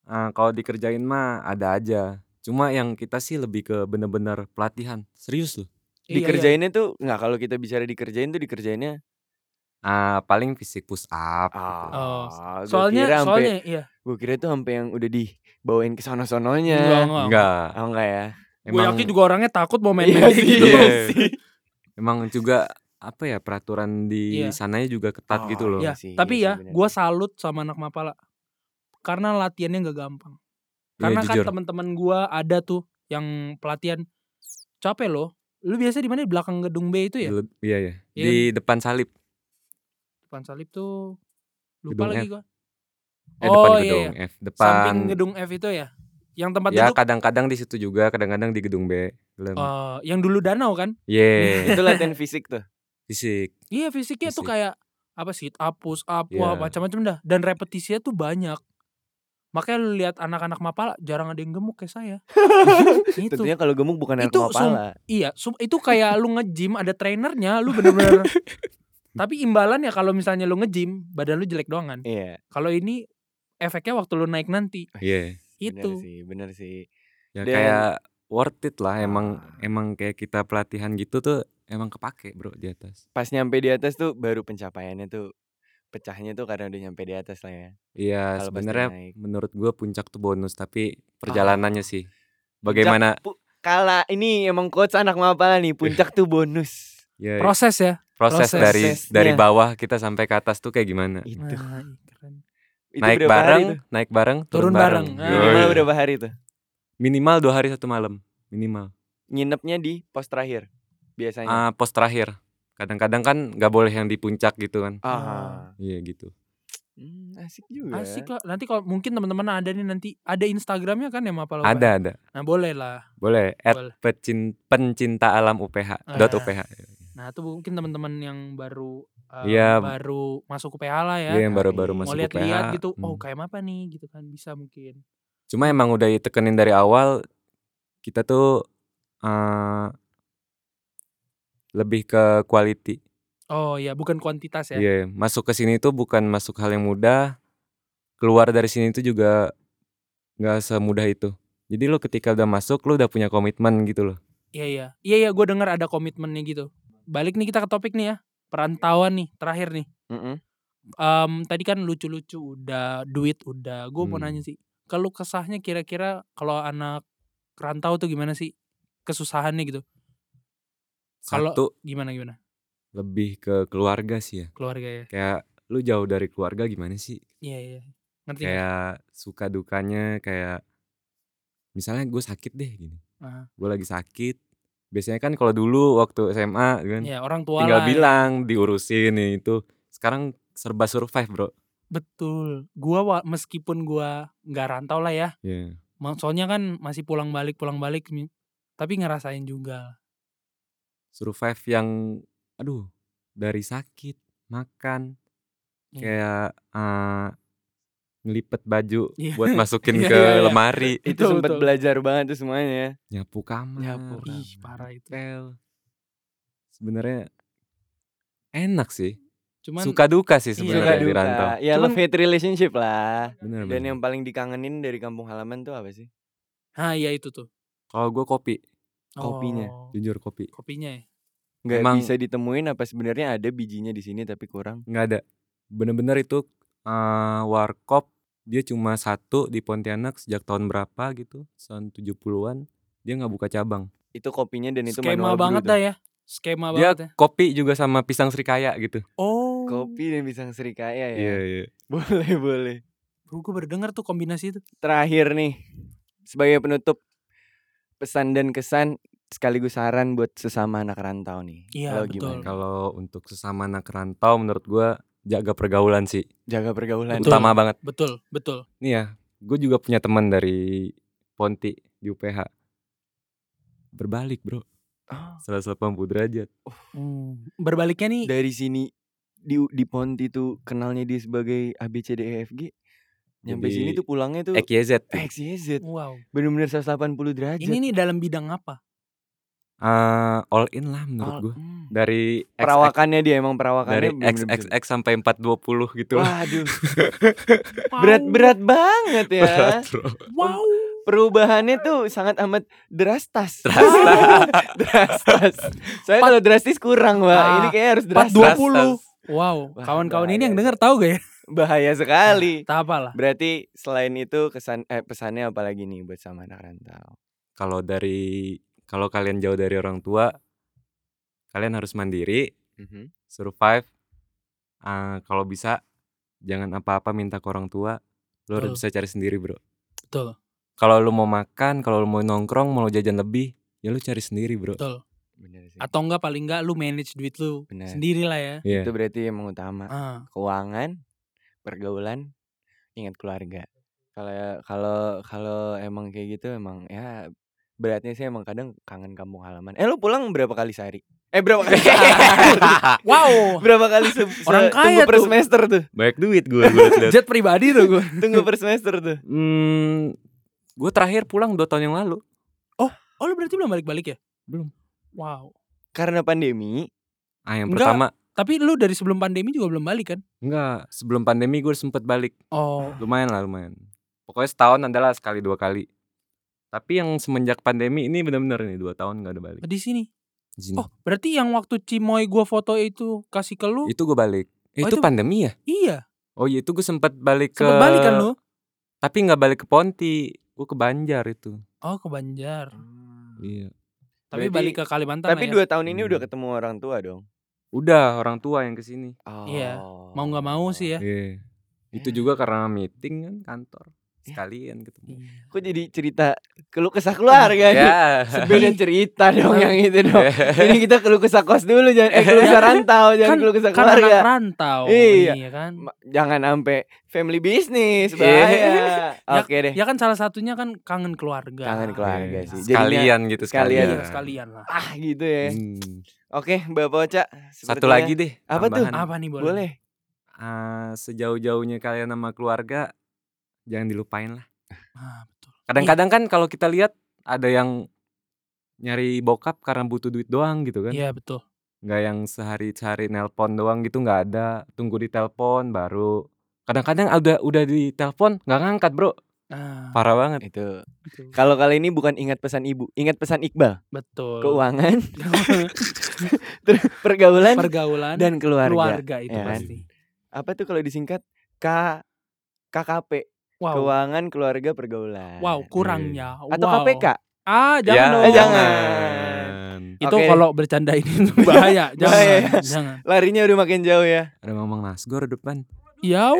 S3: ah, kalau dikerjain mah ada aja. Cuma yang kita sih lebih ke bener-bener pelatihan. Serius loh.
S2: Iya, iya.
S1: dikerjainnya tuh nggak kalau kita bicara dikerjain tuh dikerjainnya
S3: Ah, paling fisik push up. gitu.
S2: Oh,
S1: ah, gua
S2: Soalnya
S1: kira sampai-
S2: soalnya iya.
S1: gua kira tuh sampai yang udah dibawain ke sono
S2: Enggak,
S1: sononya
S2: enggak.
S3: Enggak.
S1: oh iya, enggak ya
S2: Gue
S3: Emang-
S2: yakin juga orangnya takut mau main
S1: Iya
S2: main
S1: sih,
S2: gitu.
S1: iya
S3: sih. Emang juga apa ya peraturan di
S2: Iya.
S3: sananya juga ketat
S1: Oh,
S3: gitu loh.
S2: Iya,
S1: sih,
S2: tapi
S1: iya
S2: ya
S1: sih, bener.
S2: gue salut sama anak Mapala. Karena latihannya nggak gampang.
S3: Iya,
S2: Karena kan
S3: jujur.
S2: teman-teman gue ada tuh yang pelatihan capek loh. Lu biasa di mana di belakang gedung B itu ya?
S3: Di- Iya ya.
S2: Iya
S3: Di depan salib.
S2: Depan salib tuh
S3: Gedung
S2: lupa lagi
S3: F.
S2: gue.
S3: Eh depan
S2: Oh, iya,
S3: gedung F, depan
S2: Samping gedung F itu ya. Yang tempat
S3: Ya
S2: duduk
S3: kadang-kadang di situ juga, kadang-kadang di gedung B. Lem.
S2: eh, yang dulu danau kan?
S3: Ye,
S1: Iya. itu latihan fisik tuh
S3: fisik.
S2: Iya fisiknya tuh
S3: Fisik.
S2: kayak apa sih up push up
S3: Iya.
S2: wah macam-macam dah dan repetisinya tuh banyak. Makanya lu lihat anak-anak mapala jarang ada yang gemuk kayak saya. itu
S1: tentunya kalau gemuk bukan anak
S2: Itu
S1: kepala
S2: iya sum- itu kayak lu nge-gym ada trainernya lu bener-bener tapi imbalan ya kalau misalnya lu nge-gym badan lu jelek doangan.
S1: iya
S2: Kalau ini efeknya waktu lu naik nanti
S3: Iya.
S1: bener
S2: itu.
S1: sih bener sih
S3: Ya
S1: Dan-
S3: kayak worth it lah emang
S1: Ah.
S3: emang kayak kita pelatihan gitu tuh emang kepake, Bro, di atas.
S1: pas nyampe di atas tuh baru pencapaiannya tuh pecahnya tuh karena udah nyampe di atas lah ya
S3: Iya,
S1: Kalau pas
S3: sebenarnya
S1: naik.
S3: menurut gua puncak tuh bonus tapi perjalanannya sih bagaimana
S1: Puncak pu- kala ini emang coach anak mapala nih puncak tuh bonus
S3: ya,
S2: Proses ya.
S3: proses dari
S1: prosesnya.
S3: dari bawah kita sampai ke atas tuh kayak gimana?
S1: itu,
S2: Nah, iya, keren.
S1: itu
S3: naik
S1: berapa hari
S3: bareng, Nah, iya.
S1: tuh?
S3: naik bareng, turun,
S2: Turun
S3: bareng.
S2: bareng, ah.
S3: Yoi.
S1: minimal berapa hari tuh
S3: Minimal dua hari satu malam, minimal.
S1: nginepnya di pos terakhir biasanya
S3: Ah, pos terakhir. Kadang-kadang kan nggak boleh yang di puncak gitu kan.
S1: Aha.
S3: Iya gitu.
S1: Hmm, asik
S3: Iya.
S1: juga
S2: Asik lah. Nanti kalau mungkin teman-teman ada nih nanti ada Instagramnya kan ya mapala.
S3: Ada ada.
S2: Nah boleh lah.
S3: Boleh. At
S2: Boleh.
S3: pecin- pencinta alam UPH.
S2: Ah.
S3: Dot UPH.
S2: Nah itu mungkin teman-teman yang baru uh,
S3: Iya.
S2: baru masuk UPH lah ya.
S3: Iya yang baru-baru
S1: Yoi.
S2: Mau
S3: masuk UPH.
S2: lihat-lihat gitu, oh
S3: Hmm.
S2: kayak apa nih gitu kan bisa mungkin.
S3: Cuma emang udah ditekenin dari awal kita tuh eh, lebih ke quality.
S2: Oh ya, bukan kuantitas ya.
S3: Iya, masuk ke sini tuh bukan masuk hal yang mudah. Keluar dari sini tuh juga nggak semudah itu. Jadi lo ketika udah masuk lo udah punya komitmen gitu loh.
S2: Iya iya. Iya iya, gue dengar ada komitmennya gitu. Balik nih kita ke topik nih ya. Perantauan nih, terakhir nih.
S1: Mm-mm.
S2: Em, tadi kan lucu-lucu udah, duit udah. Gue mau
S3: Hmm.
S2: nanya sih, kalau kesahnya kira-kira kalau anak rantau tuh gimana sih? Kesusahannya gitu. Kalau-
S3: Satu
S2: Gimana gimana?
S3: lebih ke keluarga sih ya.
S2: Keluarga ya.
S3: Kayak lu jauh dari keluarga gimana sih?
S2: Iya iya. Ngerti nggak?
S3: Kayak suka dukanya kayak misalnya gue sakit deh gini.
S2: Aha.
S3: Gue lagi sakit. Biasanya kan kalau dulu waktu SMA kan
S2: Iya, orang tua lah
S3: tinggal
S2: ya.
S3: bilang diurusin ini itu. Sekarang serba survive, Bro.
S2: Betul. Gua wa- meskipun gua nggak rantau lah ya.
S3: Iya.
S2: ma- Soalnya kan masih pulang balik pulang balik Mi. tapi ngerasain juga.
S3: Survive yang aduh, dari sakit, makan
S2: Iya.
S3: kayak eh, ngelipet baju
S2: Iya.
S3: buat masukin
S2: Iya,
S3: ke
S2: iya, iya.
S3: lemari,
S1: itu
S2: Betul,
S1: sempat
S2: betul.
S1: belajar banget tuh
S3: Iya.
S1: semuanya
S3: nyapu kamar.
S1: Nyapu kamar.
S2: Ih, parah itu.
S3: pel. Sebenarnya enak sih.
S2: Cuman
S3: suka duka sih
S2: Iya,
S1: suka
S3: sebenarnya di
S1: duka
S3: rantau.
S1: ya
S2: Cuman-
S1: love hate relationship lah
S3: Bener,
S1: dan
S3: bener.
S1: yang paling dikangenin dari kampung halaman tuh apa sih
S2: ah iya itu tuh.
S3: Kalau gue kopi,
S1: Kopinya.
S2: Oh,
S3: jujur kopi.
S2: kopinya ya.
S1: nggak
S3: Emang-
S1: bisa ditemuin apa sebenarnya ada bijinya di sini tapi kurang
S3: nggak ada. Bener-bener itu eh, warkop dia cuma satu di Pontianak sejak tahun berapa gitu, tahun 70-an. Dia nggak buka cabang.
S1: itu kopinya dan itu
S2: Skema
S1: manual brew
S2: banget
S1: tuh.
S2: dah ya. Skema
S3: dia
S2: banget ya.
S3: kopi juga sama pisang serikaya gitu.
S2: Oh.
S1: kopi dan pisang serikaya ya
S3: iya.
S1: boleh boleh
S2: Bro, gue berdengar tuh kombinasi itu.
S1: terakhir nih sebagai penutup pesan dan kesan sekaligus saran buat sesama anak rantau nih
S2: Iya,
S1: Lo
S2: betul.
S1: gimana?
S3: Kalau untuk sesama anak rantau menurut gua jaga pergaulan sih.
S1: jaga pergaulan
S2: Betul.
S3: Utama banget.
S2: Betul, betul.
S3: Nih ya, gue juga punya teman dari Ponti di UPH. Berbalik, Bro.
S1: Oh,
S3: 180 derajat.
S2: Hmm, Berbaliknya nih
S1: dari sini di di Ponti tuh kenalnya dia sebagai ABCDEFG E nyampe
S3: Jadi,
S1: sini tuh pulangnya tuh
S3: XYZ.
S1: XYZ
S2: wow.
S1: bener-bener 180 derajat
S2: Ini nih dalam bidang apa?
S3: Ah, all in lah menurut
S1: Al-
S3: gua
S1: Hmm.
S3: Dari XX
S1: perawakannya dia emang
S3: dari
S1: perawakannya bener-bener bisa-
S3: XXX sampai 420 gitu lah.
S1: waduh berat-berat banget ya
S3: Berat, Bro.
S2: Wow.
S1: perubahannya tuh sangat amat drastas. Drastas. drastas. Saya kalau drastis kurang, Mbak.
S2: Ah,
S1: Ini kayaknya harus
S2: Part
S1: drastis.
S2: 20. Wow,
S1: Wah,
S2: kawan-kawan ini
S1: bahaya.
S2: yang denger tahu gak ya?
S1: Bahaya sekali.
S2: Tak apalah.
S1: Berarti selain itu kesan eh pesannya apa lagi nih buat sama anak rantau?
S3: Kalau dari kalau kalian jauh dari orang tua, kalian harus mandiri,
S2: Mhm.
S3: survive. Ah, kalau bisa jangan apa-apa minta ke orang tua. Lu harus
S2: Betul.
S3: bisa cari sendiri, Bro.
S2: Betul,
S3: Kalau lu mau makan, kalau lu mau nongkrong, mau lu jajan lebih, ya lu cari sendiri, Bro.
S2: betul.
S1: Bener sih.
S2: Atau enggak paling enggak lu manage duit lu
S1: Iya. Bener.
S2: sendiri lah ya.
S1: Itu
S3: Iya.
S1: berarti yang utama.
S2: Ah,
S1: Keuangan, pergaulan, ingat keluarga. Kalau kalau kalau emang kayak gitu emang ya beratnya sih emang kadang kangen kampung halaman. Eh lu pulang berapa kali sehari? Eh berapa kali? Ah.
S2: Wow,
S1: berapa kali se- se-
S2: Orang
S1: tunggu
S2: kaya
S1: per
S2: tuh.
S1: semester tuh?
S3: Banyak duit gue gue
S2: jet pribadi tuh gue.
S1: Tunggu per semester tuh.
S3: Hmm, gue terakhir pulang 2 tahun yang lalu.
S2: Oh lu berarti belum balik-balik ya?
S3: Belum.
S2: Wow.
S1: Karena pandemi.
S3: Ah, yang
S2: Enggak.
S3: pertama,
S2: Tapi lu dari sebelum pandemi juga belum balik kan?
S3: enggak, sebelum pandemi gue sempet balik.
S2: Oh,
S3: Lumayan lah, lumayan. Pokoknya setahun adalah sekali dua kali. Tapi yang semenjak pandemi ini bener-bener nih 2 tahun gak ada balik.
S2: Oh, di sini.
S3: Di
S1: Hmm.
S3: sini.
S2: Oh, berarti yang waktu Cimoy gua foto itu kasih ke lu?
S3: Itu gue balik. Eh,
S2: Oh, itu-
S3: itu, pandemi ya?
S2: Iya.
S3: Oh iya, itu gue sempet balik ke
S2: Sempet balik kan lu?
S3: Tapi nggak balik ke Ponti. Gue ke Banjar itu.
S2: Oh, ke Banjar.
S3: Iya.
S2: Tapi
S1: Berarti-
S2: balik ke Kalimantan
S1: Tapi
S2: lah Hmm, ya.
S1: dua tahun ini
S3: Hmm.
S1: udah ketemu orang tua dong.
S3: Udah orang tua yang ke sini.
S2: Iya,
S1: Oh.
S2: mau nggak mau sih ya.
S3: Iya. Itu juga karena meeting kan kantor.
S2: Ya.
S3: Sekalian ketemu.
S2: Iya.
S3: Ya.
S1: Kok jadi cerita keluh kesah
S2: Ya.
S1: keluarga nih? Beda cerita dong yang itu dong. Ini kita keluh kesah kos dulu jangan eh keluh kesah rantau jangan
S2: Kan-
S1: keluh kesah
S2: Kan
S1: keluarga.
S2: anak rantau.
S1: Iya.
S2: kan.
S1: Ma- Jangan sampai family business
S3: Iya.
S1: bahaya. Oke deh.
S2: Ya kan salah satunya kan kangen keluarga.
S1: Kangen keluarga sih. Jadinya,
S3: Sekalian gitu sekalian.
S1: sekalian.
S2: Iya, sekalian lah.
S1: ah gitu ya.
S3: Hmm.
S1: Oke, Mbak Poca.
S3: Satu
S1: sepertinya
S3: lagi deh.
S1: Apa tuh?
S3: tambahan.
S2: Apa nih boleh?
S1: Boleh.
S3: Ah, sejauh-jauhnya kalian sama keluarga jangan dilupain lah.
S2: Ah, betul.
S3: Kadang-kadang kan kalau kita lihat ada yang nyari bokap karena butuh duit doang gitu kan.
S2: Iya, betul.
S3: nggak yang sehari-hari nelpon doang gitu nggak ada tunggu ditelepon baru kadang-kadang ada udah ditelepon nggak ngangkat bro
S2: Ah,
S3: parah banget
S1: Itu.
S2: betul.
S1: Kalau kali ini bukan ingat pesan ibu, ingat pesan Iqbal.
S2: betul.
S1: Keuangan, terus pergaulan,
S2: Pergaulan
S1: dan keluarga.
S2: keluarga itu
S1: ya kan?
S2: pasti.
S1: Apa tuh kalau disingkat K KKP,
S2: Wow.
S1: keuangan keluarga pergaulan.
S2: Wow, kurangnya.
S1: Hmm. Atau
S2: wow.
S1: KPK.
S2: Ah, jangan
S3: Ya,
S2: dong.
S1: Eh, jangan.
S2: Itu
S1: Oke.
S2: kalau bercanda ini bahaya. jangan,
S1: Bahaya.
S2: jangan.
S1: Larinya udah makin jauh ya.
S3: ada ngomong nasgor depan
S2: Ya.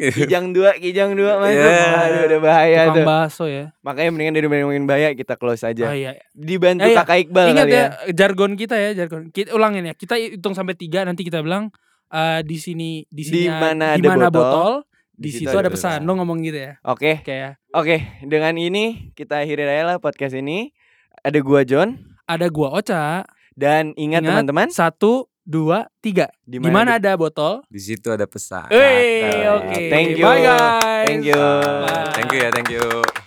S2: Iya.
S1: Kijang dua, kijang dua masuk.
S3: Yeah.
S1: Aduh, udah bahaya
S2: Tukang
S1: tuh.
S2: bakso ya.
S1: Makanya mendingan daripada ngomongin bahaya kita close
S2: Oh
S1: aja.
S2: iya.
S1: Dibantu
S2: Eh, iya.
S1: Kakak Iqbal
S2: Ingat
S1: kali
S2: ya
S1: ya.
S2: jargon kita ya, jargon. Kita ulangin ya. Kita hitung sampai tiga nanti kita bilang eh, di sini di
S1: Di
S2: sini
S1: mana ada
S2: mana
S1: botol,
S2: botol, di
S1: situ
S2: situ ada
S3: ada
S2: pesan. Lo ngomong gitu ya.
S1: Oke,
S2: Kayak
S1: oke. Dengan ini kita akhiri aja lah podcast ini. Ada gua John
S2: ada gua Oca.
S1: dan ingat
S2: Ingat.
S1: teman-teman
S2: Satu, dua, tiga. Di mana ada botol?
S3: di situ ada pesan
S2: Wey,
S1: Mantap.
S2: oke.
S1: Thank you.
S2: Bye guys.
S1: Thank you.
S3: Ah, thank you ya thank you